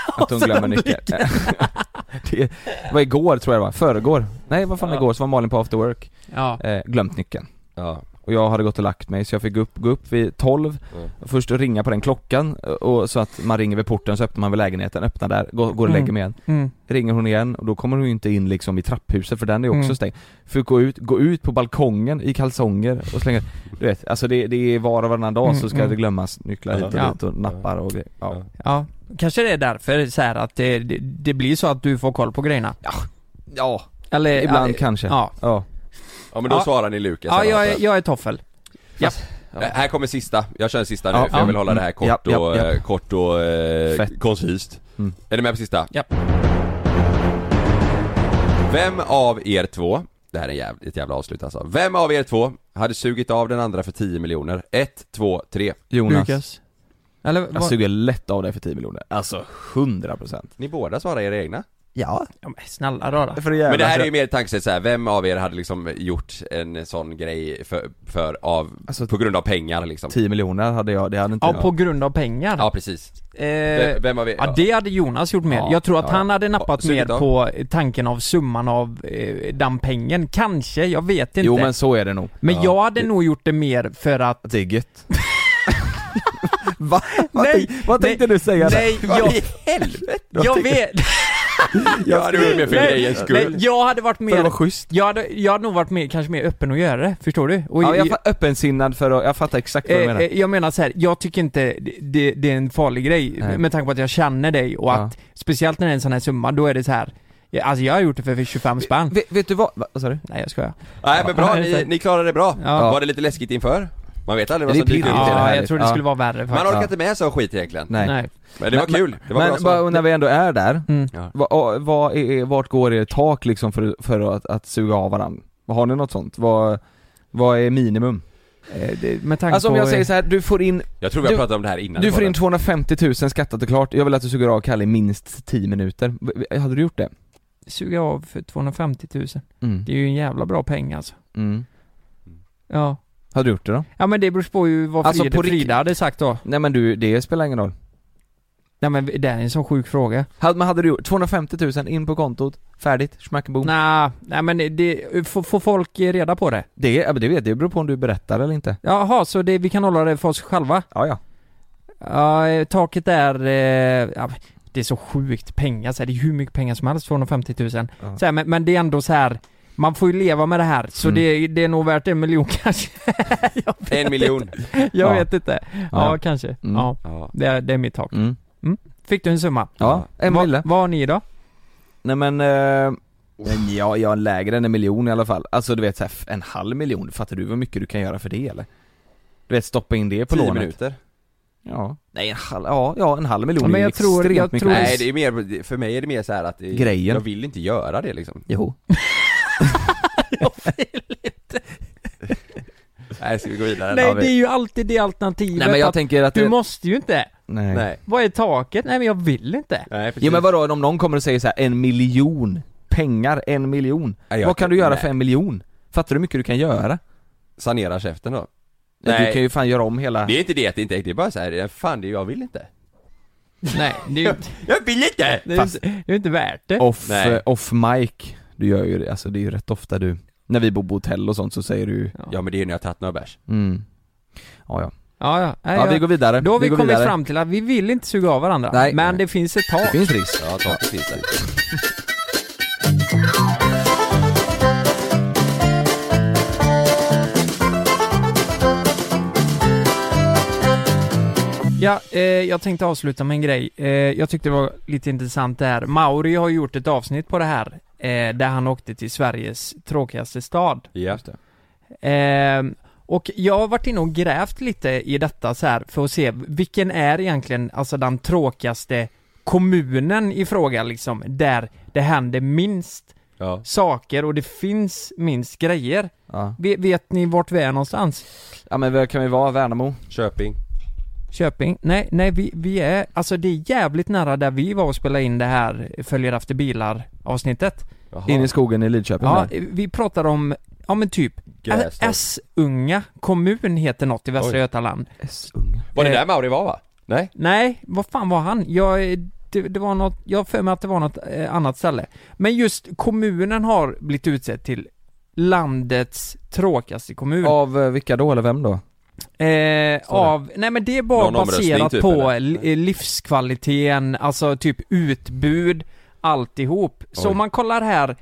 E: Att
F: Alltså,
E: hon glömmer nyckeln Det var igår tror jag det var, föregår Nej vad fan
F: Ja.
E: igår, så var Malin på after work,
F: Ja.
E: eh, glömt nyckeln
D: Ja.
E: och jag hade gått och lagt mig så jag fick gå upp, gå upp vid 12
D: Mm.
E: Först ringa på den klockan eh, och så att man ringer vid porten så öppnar man vid lägenheten, öppnar där, går, går och lägger
F: Mm.
E: mig igen
F: Mm.
E: ringer hon igen och då kommer hon ju inte in liksom i trapphuset för den är också
F: Mm.
E: stängd. För gå ut, gå ut på balkongen i kalsonger och slänga, du vet, alltså det, det är var och varannan dag
F: Mm,
E: så ska
F: mm.
E: det glömmas nycklar hit och
F: Ja.
E: dit och nappar och grejer. Ja.
F: ja. Kanske det är därför så här att det, det, det blir så att du får koll på grejerna.
E: ja,
F: Eller,
E: ibland
F: ja, eh,
E: kanske. Ja.
F: Ja.
D: Ja men då
F: Ja.
D: svarar ni Lukas
F: Ja,
D: eller
F: jag,
D: något.
F: är- jag är toffel.
D: Eh, Här kommer sista, jag kör en sista nu
E: Ja.
D: för jag vill
E: Ja. Mm.
D: hålla det här kort
E: Ja, ja,
D: och,
E: ja.
D: eh, kort och eh,
E: Fett.
D: koncist.
E: Mm.
D: Är ni med på sista?
F: Ja.
D: Vem av er två, det här är jävligt, ett jävla avslut alltså. Vem av er två hade sugit av den andra för 10 miljoner? 1, 2, 3.
E: Jonas,
F: Lukas. Eller
E: jag
F: vad?
E: suger lätt av dig för 10 miljoner. Alltså 100%.
D: Ni båda svarar era egna?
F: Ja. men snälla rara.
D: Men det här
E: alltså-
D: är ju mer tankesätt så här. vem av er hade liksom gjort en sån grej för, för av,
E: Alltså-
D: på grund av pengar liksom?
E: 10 miljoner hade jag, det hade inte
F: Ja,
E: jag.
F: på grund av pengar.
D: Ja precis.
F: Eh,
D: Vem- vem av er-
F: Ja, det hade Jonas gjort mer.
D: Ja,
F: jag tror att
D: ja,
F: han
D: ja.
F: hade nappat
D: Ja,
F: mer
D: sugit av.
F: på tanken av summan av eh, den pengen. Kanske, jag vet inte.
E: Jo men så är det nog.
F: Men
E: Ja.
F: jag hade nog gjort det mer för att...
E: Det är gött. Va? Vad, nej, vad tänkte du säga där?
F: Nej,
E: Vad
F: jag...
E: i helvete?
F: Jag vet...
D: Jag hade gjort mer för
F: Nej,
D: grejens
F: nej,
D: skull.
F: jag hade varit
E: För
F: mer...
E: att vara schysst.
F: Jag hade, jag hade nog varit mer, kanske mer öppen att göra det, förstår du? Och
E: ja, jag är öppensinnad för att, jag fattar exakt vad du
F: Eh,
E: menar.
F: eh, jag menar så här, jag tycker inte det- det, det är en farlig grej
E: Nej.
F: med tanke på att jag känner dig och att speciellt när det är en sån här summa, då är det så här. ja, Alltså jag har gjort det för 25 spänn.
E: Vet, vet du vad, va, vad sa du?
F: Nej jag skojar.
D: Nej men bra,
F: Ja, det är
D: ni,
F: så.
D: ni klarade det bra.
F: Ja.
D: Var det lite läskigt inför? Man vet aldrig vad
E: Det är
D: som dyker upp i
E: pirrigt.
D: det
F: Ja,
D: här.
F: jag tror det
E: Ja.
F: skulle vara värre
D: Man
F: faktiskt.
D: orkar inte med så skit egentligen.
E: Nej.
F: Nej.
D: Men det var
E: Men-
D: kul, det var bra
E: Men
D: svar.
E: bara, när vi ändå är där,
F: Mm.
D: Ja.
E: vad, och vad är, vart går er tak liksom för, för att, att suga av varandra? Har ni något sånt? Vad, vad är minimum?
F: Eh, det- Med tanke
E: Alltså om
F: på,
E: jag säger så här, du får in,
D: Jag tror vi har
E: Du-
D: pratat om det här innan.
E: du
D: i
E: får in
D: podden.
E: 250 000 skattat och klart, jag vill att du suger av Kalle i minst 10 minuter. V- v- Hade du gjort det?
F: Suga av för 250 000.
E: Mm.
F: Det är ju en jävla bra peng alltså.
E: Mm.
F: Ja.
E: Hade du gjort det då?
F: Ja men det beror på ju vad
E: Alltså,
F: Frida,
E: på rikt-
F: Frida hade sagt då.
E: Nej men du, det spelar ingen roll.
F: Nej men det är en sån sjuk fråga.
E: Hade, men hade du gjort 250 000 in på kontot, färdigt, schmackeboom.
F: Nej, nej men det, får, får folk reda på det?
E: Det, ja, men det vet jag, det beror på om du berättar eller inte.
F: Jaha, så det, vi kan hålla det för oss själva?
E: Ja, ja.
F: Ja, eh, taket är... Eh, ja, det är så sjukt pengar så här, Det är hur mycket pengar som helst, 250 000.
E: Ja.
F: Så här, men, men det är ändå så här. Man får ju leva med det här, så
E: Mm.
F: det, det är nog värt en miljon kanske. jag vet
D: En miljon.
F: Inte.
E: Ja.
F: Jag vet inte. Ja,
E: Ja.
F: kanske.
E: Mm.
F: Ja,
D: Ja.
F: det är, det är mitt tak.
E: Mm.
F: Fick du en summa?
E: Ja, en mille.
F: Vad har ni då?
E: Nej men, eh,
F: Oh.
E: men jag, jag är lägre än en miljon i alla fall. Alltså du vet såhär, en halv miljon, fattar du vad mycket du kan göra för det eller? Du vet stoppa in det på
D: 10
E: lånet.
D: minuter.
E: Ja. Nej en halv, ja, ja en halv miljon
F: Ja, men
E: är ju
F: jag tror-
E: extremt
F: jag
E: mycket
F: tror-
E: pengar.
D: Nej det är mer, för mig är det mer så här att det,
E: Grejen.
D: jag vill inte göra det liksom.
E: Jo.
D: Nej ska vi gå vidare?
F: Nej,
D: Ja, vi-
F: det är ju alltid det alternativet
E: Nej men jag
F: att
E: tänker att
F: du
E: det,
F: måste ju inte.
E: nej.
D: Nej.
F: Vad är taket? Nej men jag vill inte.
D: Nej precis.
E: Jo men vadå, om någon kommer och säger så här, en miljon pengar, en miljon.
D: Nej, jag-
E: vad kan du göra
D: nej.
E: för en miljon? Fattar du hur mycket du kan göra?
D: Sanera käften då.
E: Nej.
D: Nej.
E: Du kan ju fan göra om hela...
D: Det är inte det att det inte är, det är bara så här, fan det, jag vill inte.
F: Nej, det är ju inte,
D: Jag vill inte!
F: det är ju inte, det är ju inte värt det.
E: Off,
D: Nej.
E: eh, off mic, du gör ju det, alltså det är ju rätt ofta du, när vi bor på hotell och sånt så säger du
D: Ja men det är ju när jag har tagit några bärs.
E: mm. Ja, ja.
F: Ja, ja. Nej,
E: ja
F: jag-
E: vi går vidare.
F: Då har vi,
E: går
F: kommit
E: vidare.
F: fram till att vi vill inte suga av varandra.
E: Nej.
F: men
E: Nej.
F: det finns ett tak.
E: Det finns risk.
D: Ja, ta precis det.
F: Ja, eh, jag tänkte avsluta med en grej. Eh, jag tyckte det var lite intressant det här. Mauri har gjort ett avsnitt på det här. Eh, där han åkte till Sveriges tråkigaste stad.
D: Ja.
F: Eh, och jag har varit inne och grävt lite i detta så här för att se vilken är egentligen alltså den tråkigaste kommunen i fråga liksom, där det händer minst
D: Ja.
F: saker och det finns minst grejer.
E: Ja.
F: Ve- vet ni vart vi är någonstans?
E: ja men vad kan vi vara? Värnamo?
D: Köping.
F: Köping? Nej, nej vi, vi är, alltså det är jävligt nära där vi var och spelade in det här Följer efter bilar avsnittet.
D: Jaha.
E: In i skogen i Lidköping?
F: Ja,
E: där.
F: vi pratar om, ja men typ,
D: Grästorp.
F: S-Unga kommun heter något i Västra
D: Oj.
F: Götaland.
D: Var det
F: Eh.
D: där Mauri var va? Nej?
F: Nej, vad fan var han? Jag, det, det var något, jag har för mig att det var något eh, annat ställe. Men just kommunen har blivit utsedd till landets tråkigaste kommun.
E: Av eh, vilka då eller vem då?
F: Eh, av, nej men det är bara
D: Någon omröstning
F: baserat
D: typ,
F: på
D: eller?
F: li- eh, livskvaliteten, alltså typ utbud, alltihop. Så
D: Oj.
F: om man kollar här,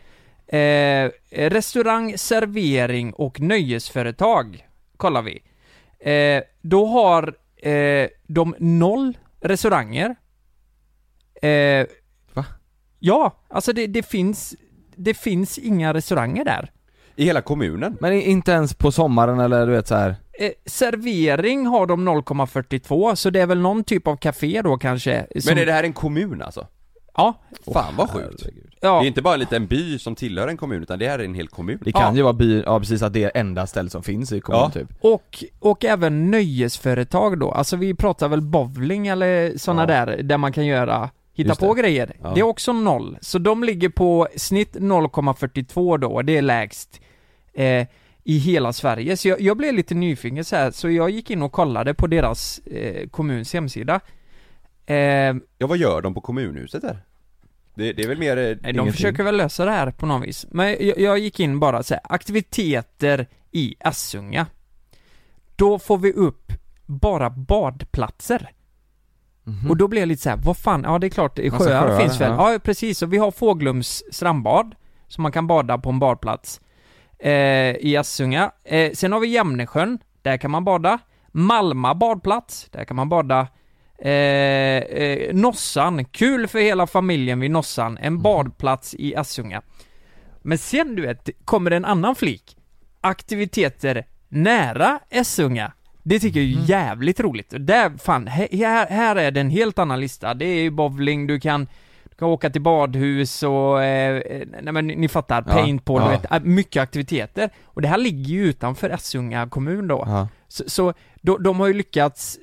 F: eh, restaurang, servering och nöjesföretag kollar vi. Eh, då har eh, de noll restauranger. Eh,
E: Va?
F: Ja, alltså det, det finns, det finns inga restauranger där.
D: I hela kommunen?
E: Men i- inte ens på sommaren eller du vet så här.
F: Eh, servering har de 0,42 så det är väl någon typ av café då kanske.
D: Men är det här en kommun alltså?
F: Ja.
D: Fan vad sjukt. Det
F: ja.
D: är inte bara en liten by som tillhör en kommun utan det här är en hel kommun.
E: Det kan ju vara by, ja precis att det är enda stället som finns i kommunen
D: Ja.
E: typ.
F: Och, och även nöjesföretag då. Alltså vi pratar väl bowling eller sådana där, där man kan göra hitta
D: Just
F: på
D: det.
F: grejer.
D: Ja.
F: Det är också noll. Så de ligger på snitt 0,42 då, och det är lägst eh, i hela Sverige. Så jag, jag blev lite nyfiken så här, så jag gick in och kollade på deras eh, kommuns hemsida. Eh,
D: Ja vad gör de på kommunhuset där? Det, det är väl mer... eh,
F: Nej, de
D: ingenting.
F: försöker väl lösa det här på något vis. Men jag, jag gick in bara så här, aktiviteter i Assunga. Då får vi upp bara badplatser. Och då blev jag lite så här, vad fan, ja det är klart, sjöar,
E: Massa Mhm. Alltså sjöar,
F: finns väl?
E: ja.
F: Ja. precis, och vi har Fåglums strandbad, som man kan bada på en badplats eh, i Assunga. Eh, sen har vi Jämnesjön, där kan man bada. Malma badplats, där kan man bada. Eh, eh, Nossan, kul för hela familjen vid Nossan, en
E: Mhm.
F: badplats i Assunga. Men sen du vet, kommer det en annan flik. Aktiviteter nära Essunga. Det tycker jag är
E: Mm.
F: jävligt roligt. Och Där, fan, he- här, här är det en helt annan lista. Det är ju bowling, du kan, du kan åka till badhus och, eh, eh, nej men ni- ni fattar,
E: Ja,
F: paintball,
E: ja.
F: du vet, eh, mycket aktiviteter. Och det här ligger ju utanför Essunga kommun då.
E: Ja.
F: Så, så de, de har ju lyckats,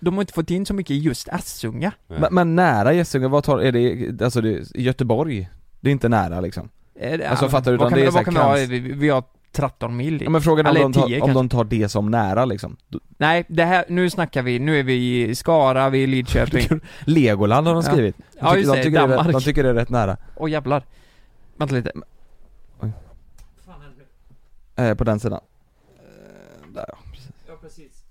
F: de har inte fått in så mycket i just Essunga.
E: Men, men nära Gässunga, vad tar, är det, alltså det är Göteborg? Det är inte nära liksom?
F: Eh,
E: Alltså, fattar du,
F: vad
E: utan
F: kan-
E: det är så
F: vad
E: här
F: kan vi ha?
E: kans-
F: Vi, vi har 13 mil.
E: Ja men frågan är
F: Eller
E: om de,
F: 10
E: tar, om
F: kanske.
E: de tar det som nära liksom? Då-
F: Nej, det här, nu snackar vi, nu är vi i Skara, vi är i Lidköping.
E: Legoland har de
F: Ja.
E: skrivit. De,
F: Ja, just
E: tycker,
F: det,
E: de, tycker det är,
F: Danmark.
E: rätt- de tycker det är rätt nära.
F: Åh jävlar. Vänta lite.
E: Eh, på den sidan. Eh, där ja.
F: Ja, precis.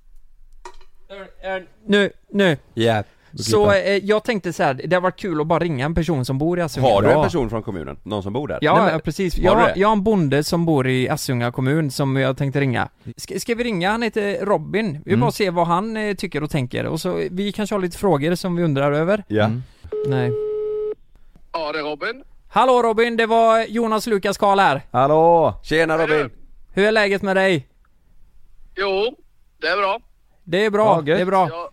F: Nu, nu.
D: Ja.
F: Så eh, jag tänkte så här, det har varit kul att bara ringa en person som bor i Assunga.
D: Har du en
F: Ja.
D: person från kommunen? Någon som bor där?
F: Ja,
D: Nej, men-
F: ja, precis.
D: Har
F: Jag,
D: du
F: har-
D: det?
F: jag har en bonde som bor i Assunga kommun som jag tänkte ringa. Ska, ska vi ringa? Han heter Robin. Vi vill
D: Mm.
F: bara se vad han eh, tycker och tänker. Och så, vi kanske har lite frågor som vi undrar över.
D: Ja.
E: Mm.
F: Nej.
I: Ja, det är Robin.
F: Hallå Robin, det var Jonas Lukas Karl här.
E: Hallå!
D: Tjena Robin!
F: Hur är läget med dig?
I: Jo, det är bra.
F: Det är bra,
I: Ja, gött.
F: det är bra.
I: Ja.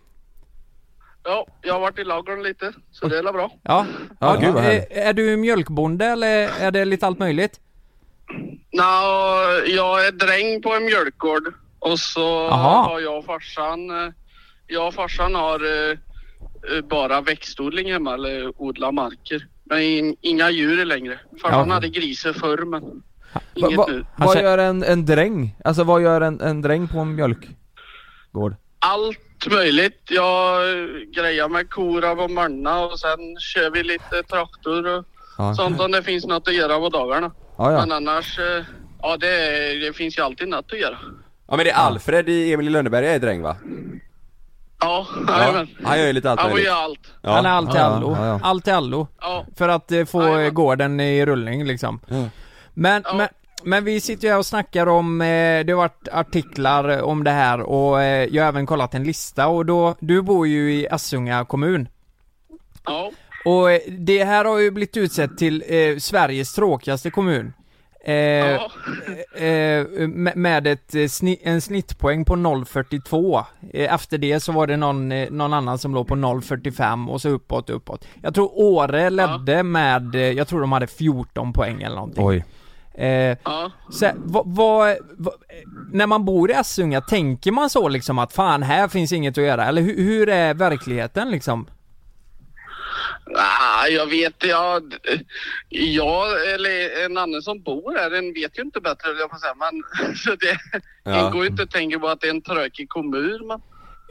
I: Ja, jag har varit i lagren lite, så det är väl bra.
F: Ja.
E: Ja, gud, vad
F: eh,
E: härligt.
F: är, du mjölkbonde eller är det lite allt möjligt?
I: Nå, jag är dräng på en mjölkgård och så
F: Aha.
I: har jag och farsan, eh, jag och farsan har eh, eh, bara växtodling hemma eller odlar marker. Men in, inga djur längre. Farsan
E: Ja.
I: hade grisar förr men
E: Va,
I: inget
E: va,
I: nu.
E: vad gör en, en dräng? Alltså vad gör en, en dräng på en mjölkgård?
I: Allt möjligt. Jag eh, grejar med kora på morgnarna och sen kör vi lite traktor och
E: Ja.
I: sånt om det finns något att göra på dagarna.
E: Ja, ja.
I: Men annars, eh, ja det, är- det finns ju alltid något att göra.
D: Ja men det är Alfred i Emil i Lönneberga är dräng va?
I: Ja,
D: Ja, han gör ju lite allt
I: Han får
D: möjligt.
I: göra allt.
D: Ja.
F: Han är allt i
D: Ja,
F: allo.
D: ja, ja.
F: Allt i allo. För att eh, få eh, gården i rullning liksom. Men, men, men vi sitter ju här och snackar om, eh, det har varit artiklar om det här och eh, jag har även kollat en lista och då, du bor ju i Assunga kommun.
I: Ja.
F: Och eh, det här har ju blivit utsett till eh, Sveriges tråkigaste kommun. Eh, eh, med med ett, eh, sni, en snittpoäng på 0,42. Eh, efter det så var det någon, eh, någon annan som låg på 0,45 och så uppåt, uppåt. Jag tror Åre ledde med, eh, jag tror de hade 14 poäng eller någonting.
E: Oj.
F: Eh, så, här, vad, vad, vad, eh, när man bor i Assunga, tänker man så liksom att fan här finns inget att göra? Eller hur, hur är verkligheten liksom?
I: Ah, jag vet, jag, jag eller en annan som bor här, den vet ju inte bättre höll jag på att säga. Men, så det,
F: Ja.
I: det går ju inte att tänka på att det är en trökig kommun. Men,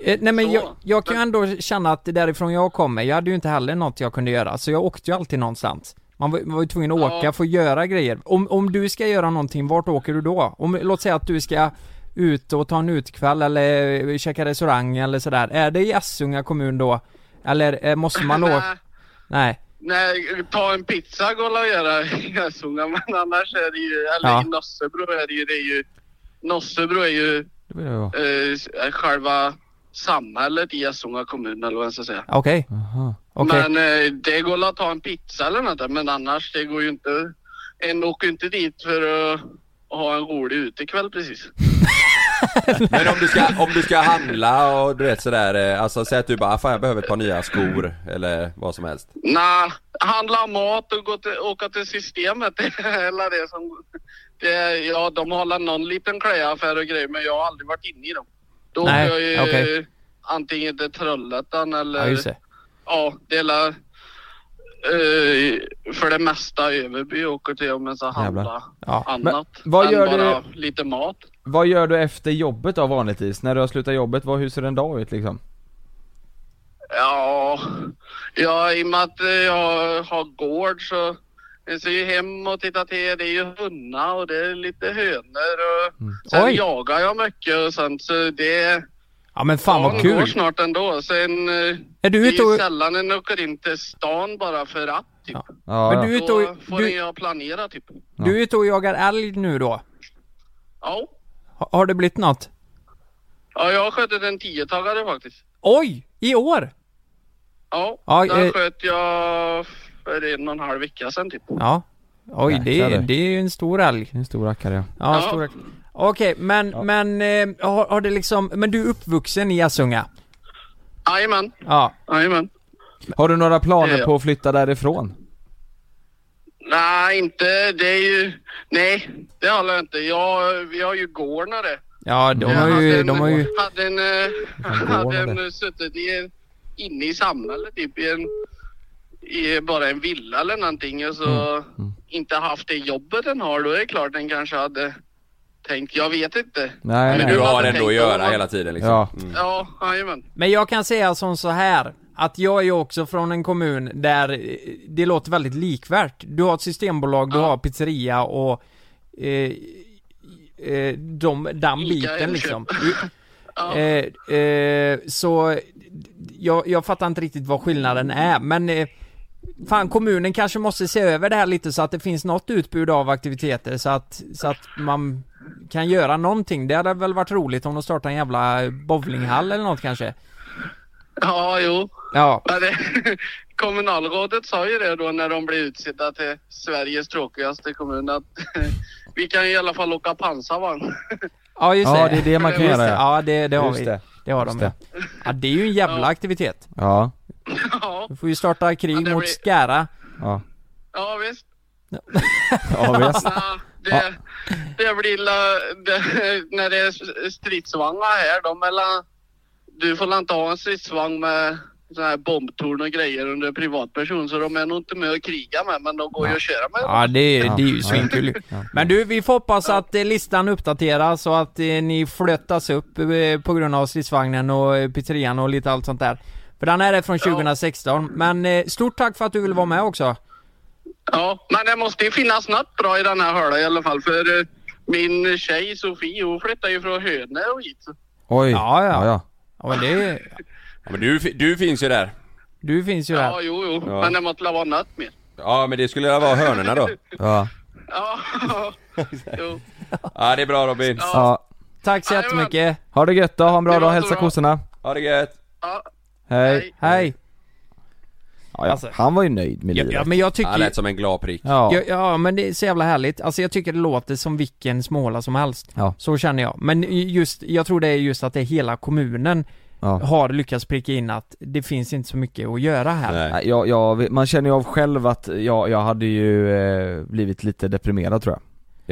F: Eh, nej men
I: Så.
F: jag, jag kan ju ändå känna att därifrån jag kommer, jag hade ju inte heller något jag kunde göra, så jag åkte ju alltid någonstans. Man var, var ju tvungen att
I: Ja.
F: åka för att göra grejer. Om, om du ska göra någonting, vart åker du då? Om, låt säga att du ska ut och ta en utkväll eller eh, käka restaurang eller sådär. Är det i Assunga kommun då? Eller eh, måste man då? Nej.
I: nej, ta en pizza går väl att göra i Gäsunga, men annars är det ju, eller
F: Ja.
I: i Nossebro är det ju, det är ju Nossebro är ju eh, själva samhället i Gäsunga kommun eller vad jag ska säga.
F: Okej. Okej.
I: Men eh, det går väl att ta en pizza eller något där, men annars det går ju inte. En åker ju inte dit för att ha en rolig utekväll precis.
D: Men om du ska, om du ska handla och du vet sådär, eh, alltså säg att du bara "Ah, fan jag behöver ett par nya skor eller vad som helst.
I: Nej, handla mat och gå till, åka till systemet. Det är hela det som... Det, är- ja, de har väl någon liten klädaffär och grejer, men jag har aldrig varit inne i dem. Då
F: Nej,
I: åker jag ju
F: okej.
I: antingen till Trollhättan eller...
F: Ja, just det.
I: Ja, det är la- eh, för det mesta Överby åker till och med så handla
E: Ja.
I: annat.
E: Men, vad
I: än
E: gör
I: bara
E: du,
I: lite mat.
E: vad gör du efter jobbet då vanligtvis? När du har slutat jobbet, vad, hur ser en dag ut liksom?
I: Ja, ja, i och med att eh, jag har gård så jag ser ju hem och tittar till. Det är ju hundar och det är lite hönor och sen
F: Mm. Oj.
I: jagar jag mycket och sånt så det...
F: Ja men fan vad
I: dagen går
F: kul!
I: snart ändå. Sen... eh,
F: Är du
I: det
F: ute
I: är ju
F: och-
I: sällan en åker in till stan bara för att typ.
F: Ja, Men ja. du är ute och-
I: Då får
F: du-
I: en jag planera typ.
F: Du är ute och jagar älg nu då?
I: Ja.
F: Ha- Har det blivit något?
I: Ja, jag har skjutit en tiotagare faktiskt.
F: Oj! I år?
I: Ja,
F: Ja,
I: den
F: eh.
I: sköt jag för en och en halv vecka sedan typ.
F: Ja. Oj, det,
E: Jäklar,
F: är-
E: du.
F: det är ju en stor älg.
E: En stor rackare ja.
F: Ja,
I: Ja.
F: stora... Okej, men, men eh, har, har det liksom, men du är uppvuxen i Asunga?
I: Jajamän,
F: Ja.
I: jajamän.
E: Har du några planer
I: Ja, ja.
E: på att flytta därifrån?
I: Nej, inte. Det är ju... Nej, det har jag inte. Jag, vi har ju gårdarna det.
F: Ja, de
I: Jag
F: har
I: hade
F: ju,
I: en-
F: de har ju...
I: Hade en, eh, hade
F: gårdarna
I: en suttit i en, inne i samhället typ i en... I bara en villa eller någonting och så
F: Mm,
I: inte haft det jobbet den har. Då är det klart den kanske hade tänkt. Jag vet inte.
E: Nej,
D: Men
E: nej.
D: du har
I: hade
D: ändå att
I: tänkt om
D: göra
I: man-
D: hela tiden liksom.
E: Ja.
D: Mm.
I: Ja, jajamän.
F: Men jag kan säga som så här att jag är också från en kommun där eh, det låter väldigt likvärt. Du har ett systembolag, du har pizzeria och eh, eh, de, den biten liksom. Eh, eh, så jag, jag fattar inte riktigt vad skillnaden är men eh, Fan kommunen kanske måste se över det här lite så att det finns något utbud av aktiviteter så att, så att man kan göra någonting. Det hade väl varit roligt om de startade en jävla bowlinghall eller något kanske?
I: Ja, jo.
F: Ja.
I: Ja, det, kommunalrådet sa ju det då när de blev utsedda till Sveriges tråkigaste kommun att vi kan ju i alla fall åka pansarvagn.
F: Ja just
E: Ja,
F: det.
E: det är det man kan
F: Just
E: göra, ja.
F: Ja det, det har
E: Just
F: vi.
E: det.
F: Det, har
E: Just
F: de ja. ja. det är ju en jävla aktivitet.
E: Ja.
F: Du får ju starta krig mot
I: blir-
F: Skara.
E: Ja.
I: Ja, visst.
E: Ja, visst.
I: Ja,
E: Ja.
I: det, det blir la, det, när det är s- stridsvagnar här då mellan... Du får la inte ha en stridsvagn med sån här bombtorn och grejer under privatperson så de är nog inte med och kriga med men de går ju att köra med.
F: Ja det,
E: Ja.
F: det är ju
E: Ja.
F: svinkul Men du, vi får hoppas att eh, listan uppdateras och att eh, ni flöttas upp eh, på grund av stridsvagnen och eh, pizzerian och lite allt sånt där För den här är från 2016, men eh, stort tack för att du ville vara med också
I: Ja, men det måste ju finnas något bra i den här hörnan i alla fall för eh, min tjej Sofie hon flyttar ju från Hönö och hit.
E: Oj.
F: Ja, ja.
E: ja, ja.
F: Ja men det,
D: Ja, men du, fi- du finns ju där.
F: du finns ju här
I: Ja, jo, jo,
D: Ja.
I: men det måste la vara något mer.
D: Ja men det skulle vara hörnorna då.
E: Ja.
I: Ja, jo.
D: Ja det är bra Robin.
E: ja.
F: Tack så
I: Jajamän.
F: jättemycket,
E: Ha det gött då, ha en bra
I: Det
E: dag,
I: var
E: hälsa
I: så bra.
E: kossorna.
D: Ha det gött.
E: Hej.
F: hej!
E: Ja, ja. Han var ju nöjd med
F: Ja,
E: livet.
F: ja men jag tycker
D: Han
F: ju-
D: lät som en glad prick.
E: Ja.
F: Ja, ja men det är så jävla härligt. Alltså jag tycker det låter som vilken småla som helst.
E: Ja.
F: Så känner jag. Men just, jag tror det är just att det är hela kommunen
E: Ja.
F: har lyckats pricka in att det finns inte så mycket att göra här.
D: Nej.
E: Nej, Jag, jag, man känner ju av själv att jag, jag hade ju eh, blivit lite deprimerad tror jag.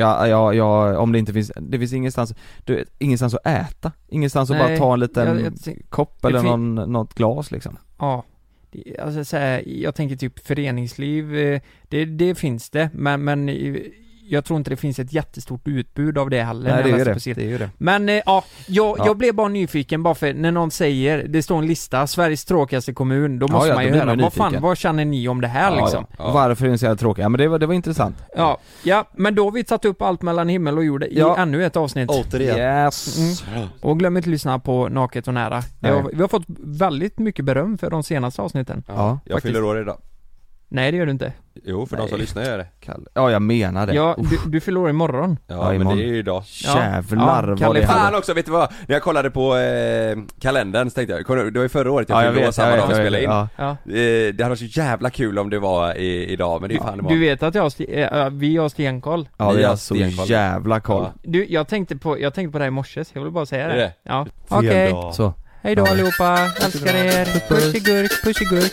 E: Jag, jag, jag, om det inte finns, det finns ingenstans, du, vet, ingenstans att äta, ingenstans att
F: Nej,
E: bara ta en liten
F: jag- jag tänk-
E: kopp
F: det
E: eller någon,
F: fin-
E: något glas liksom.
F: Ja. Det- Alltså så här, jag tänker typ föreningsliv, eh, det, det finns det, men, men eh, jag tror inte det finns ett jättestort utbud av det heller. när
E: Nej
F: jag
E: det är ju
F: läser
E: det,
F: på sidan.
E: det är ju det.
F: Men eh, ja, jag,
E: Ja.
F: jag blev bara nyfiken bara för när någon säger, det står en lista, Sveriges tråkigaste kommun, då
E: Ja,
F: måste
E: ja,
F: man
E: då
F: ju
E: blir
F: höra,
E: man
F: vad fan,
E: nyfiken.
F: vad känner ni om det här
E: Ja,
F: liksom? Ja.
E: ja. Och Varför är den så jävla tråkig? Ja men det var, det var intressant.
F: Ja. men då har vi tagit upp allt mellan himmel och jord i
E: Ja.
F: ännu ett avsnitt. Mm.
E: Yes.
F: Och glöm inte att lyssna på Naket och Nära. Vi
E: Nej.
F: har, vi har fått väldigt mycket beröm för de senaste avsnitten.
E: Ja.
D: Jag fyller år idag.
F: Nej det gör du inte.
D: Jo för de som
E: Nej.
D: lyssnar gör jag det.
E: Kalle. Ja jag menar det.
F: Ja,
E: Oh,
F: du, du fyller år imorgon.
D: Ja, men
E: imorgon.
D: det är ju idag.
E: Jävlar
F: Ja,
E: vad
F: Kalle,
E: det
D: Fan
E: är.
D: också, vet du vad? När jag kollade på eh, kalendern så tänkte jag, kolla, det var ju förra året jag fyllde år samma dag vi spelade in.
E: Ja.
F: Ja.
D: Eh, det hade varit så jävla kul om det var i, idag, men det är ju fan det var.
F: Du vet att jag har, sti- eh, äh, vi har stenkoll.
E: Ja
D: Ni
E: vi
D: har
E: har så
D: stenkoll.
E: jävla koll.
D: Ja.
F: Du, jag tänkte på, jag tänkte på det här i morse, så jag vill bara säga
D: Är
F: det.
D: det?
F: Ja. Okej.
E: Så.
F: Hej då allihopa, älskar er. Puss i gurk, puss i gurk.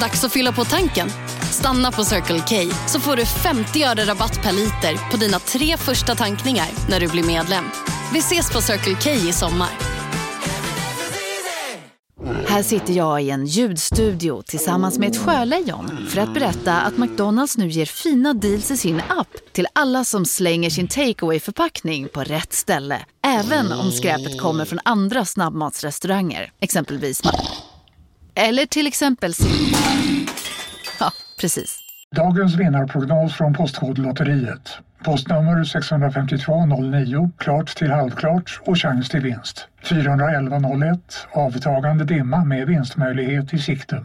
A: Dags att fylla på tanken. Stanna på Circle K så får du 50 öre rabatt per liter på dina tre första tankningar när du blir medlem. Vi ses på Circle K i sommar.
J: Här sitter jag i en ljudstudio tillsammans med ett sjölejon för att berätta att McDonalds nu ger fina deals i sin app till alla som slänger sin takeaway förpackning på rätt ställe. Även om skräpet kommer från andra snabbmatsrestauranger, exempelvis Ma- Eller till exempel Sil- Ja, precis.
F: Dagens vinnarprognos från Postkodlotteriet. Postnummer 65209, klart till halvklart och chans till vinst. 41101, avtagande dimma med vinstmöjlighet i sikte.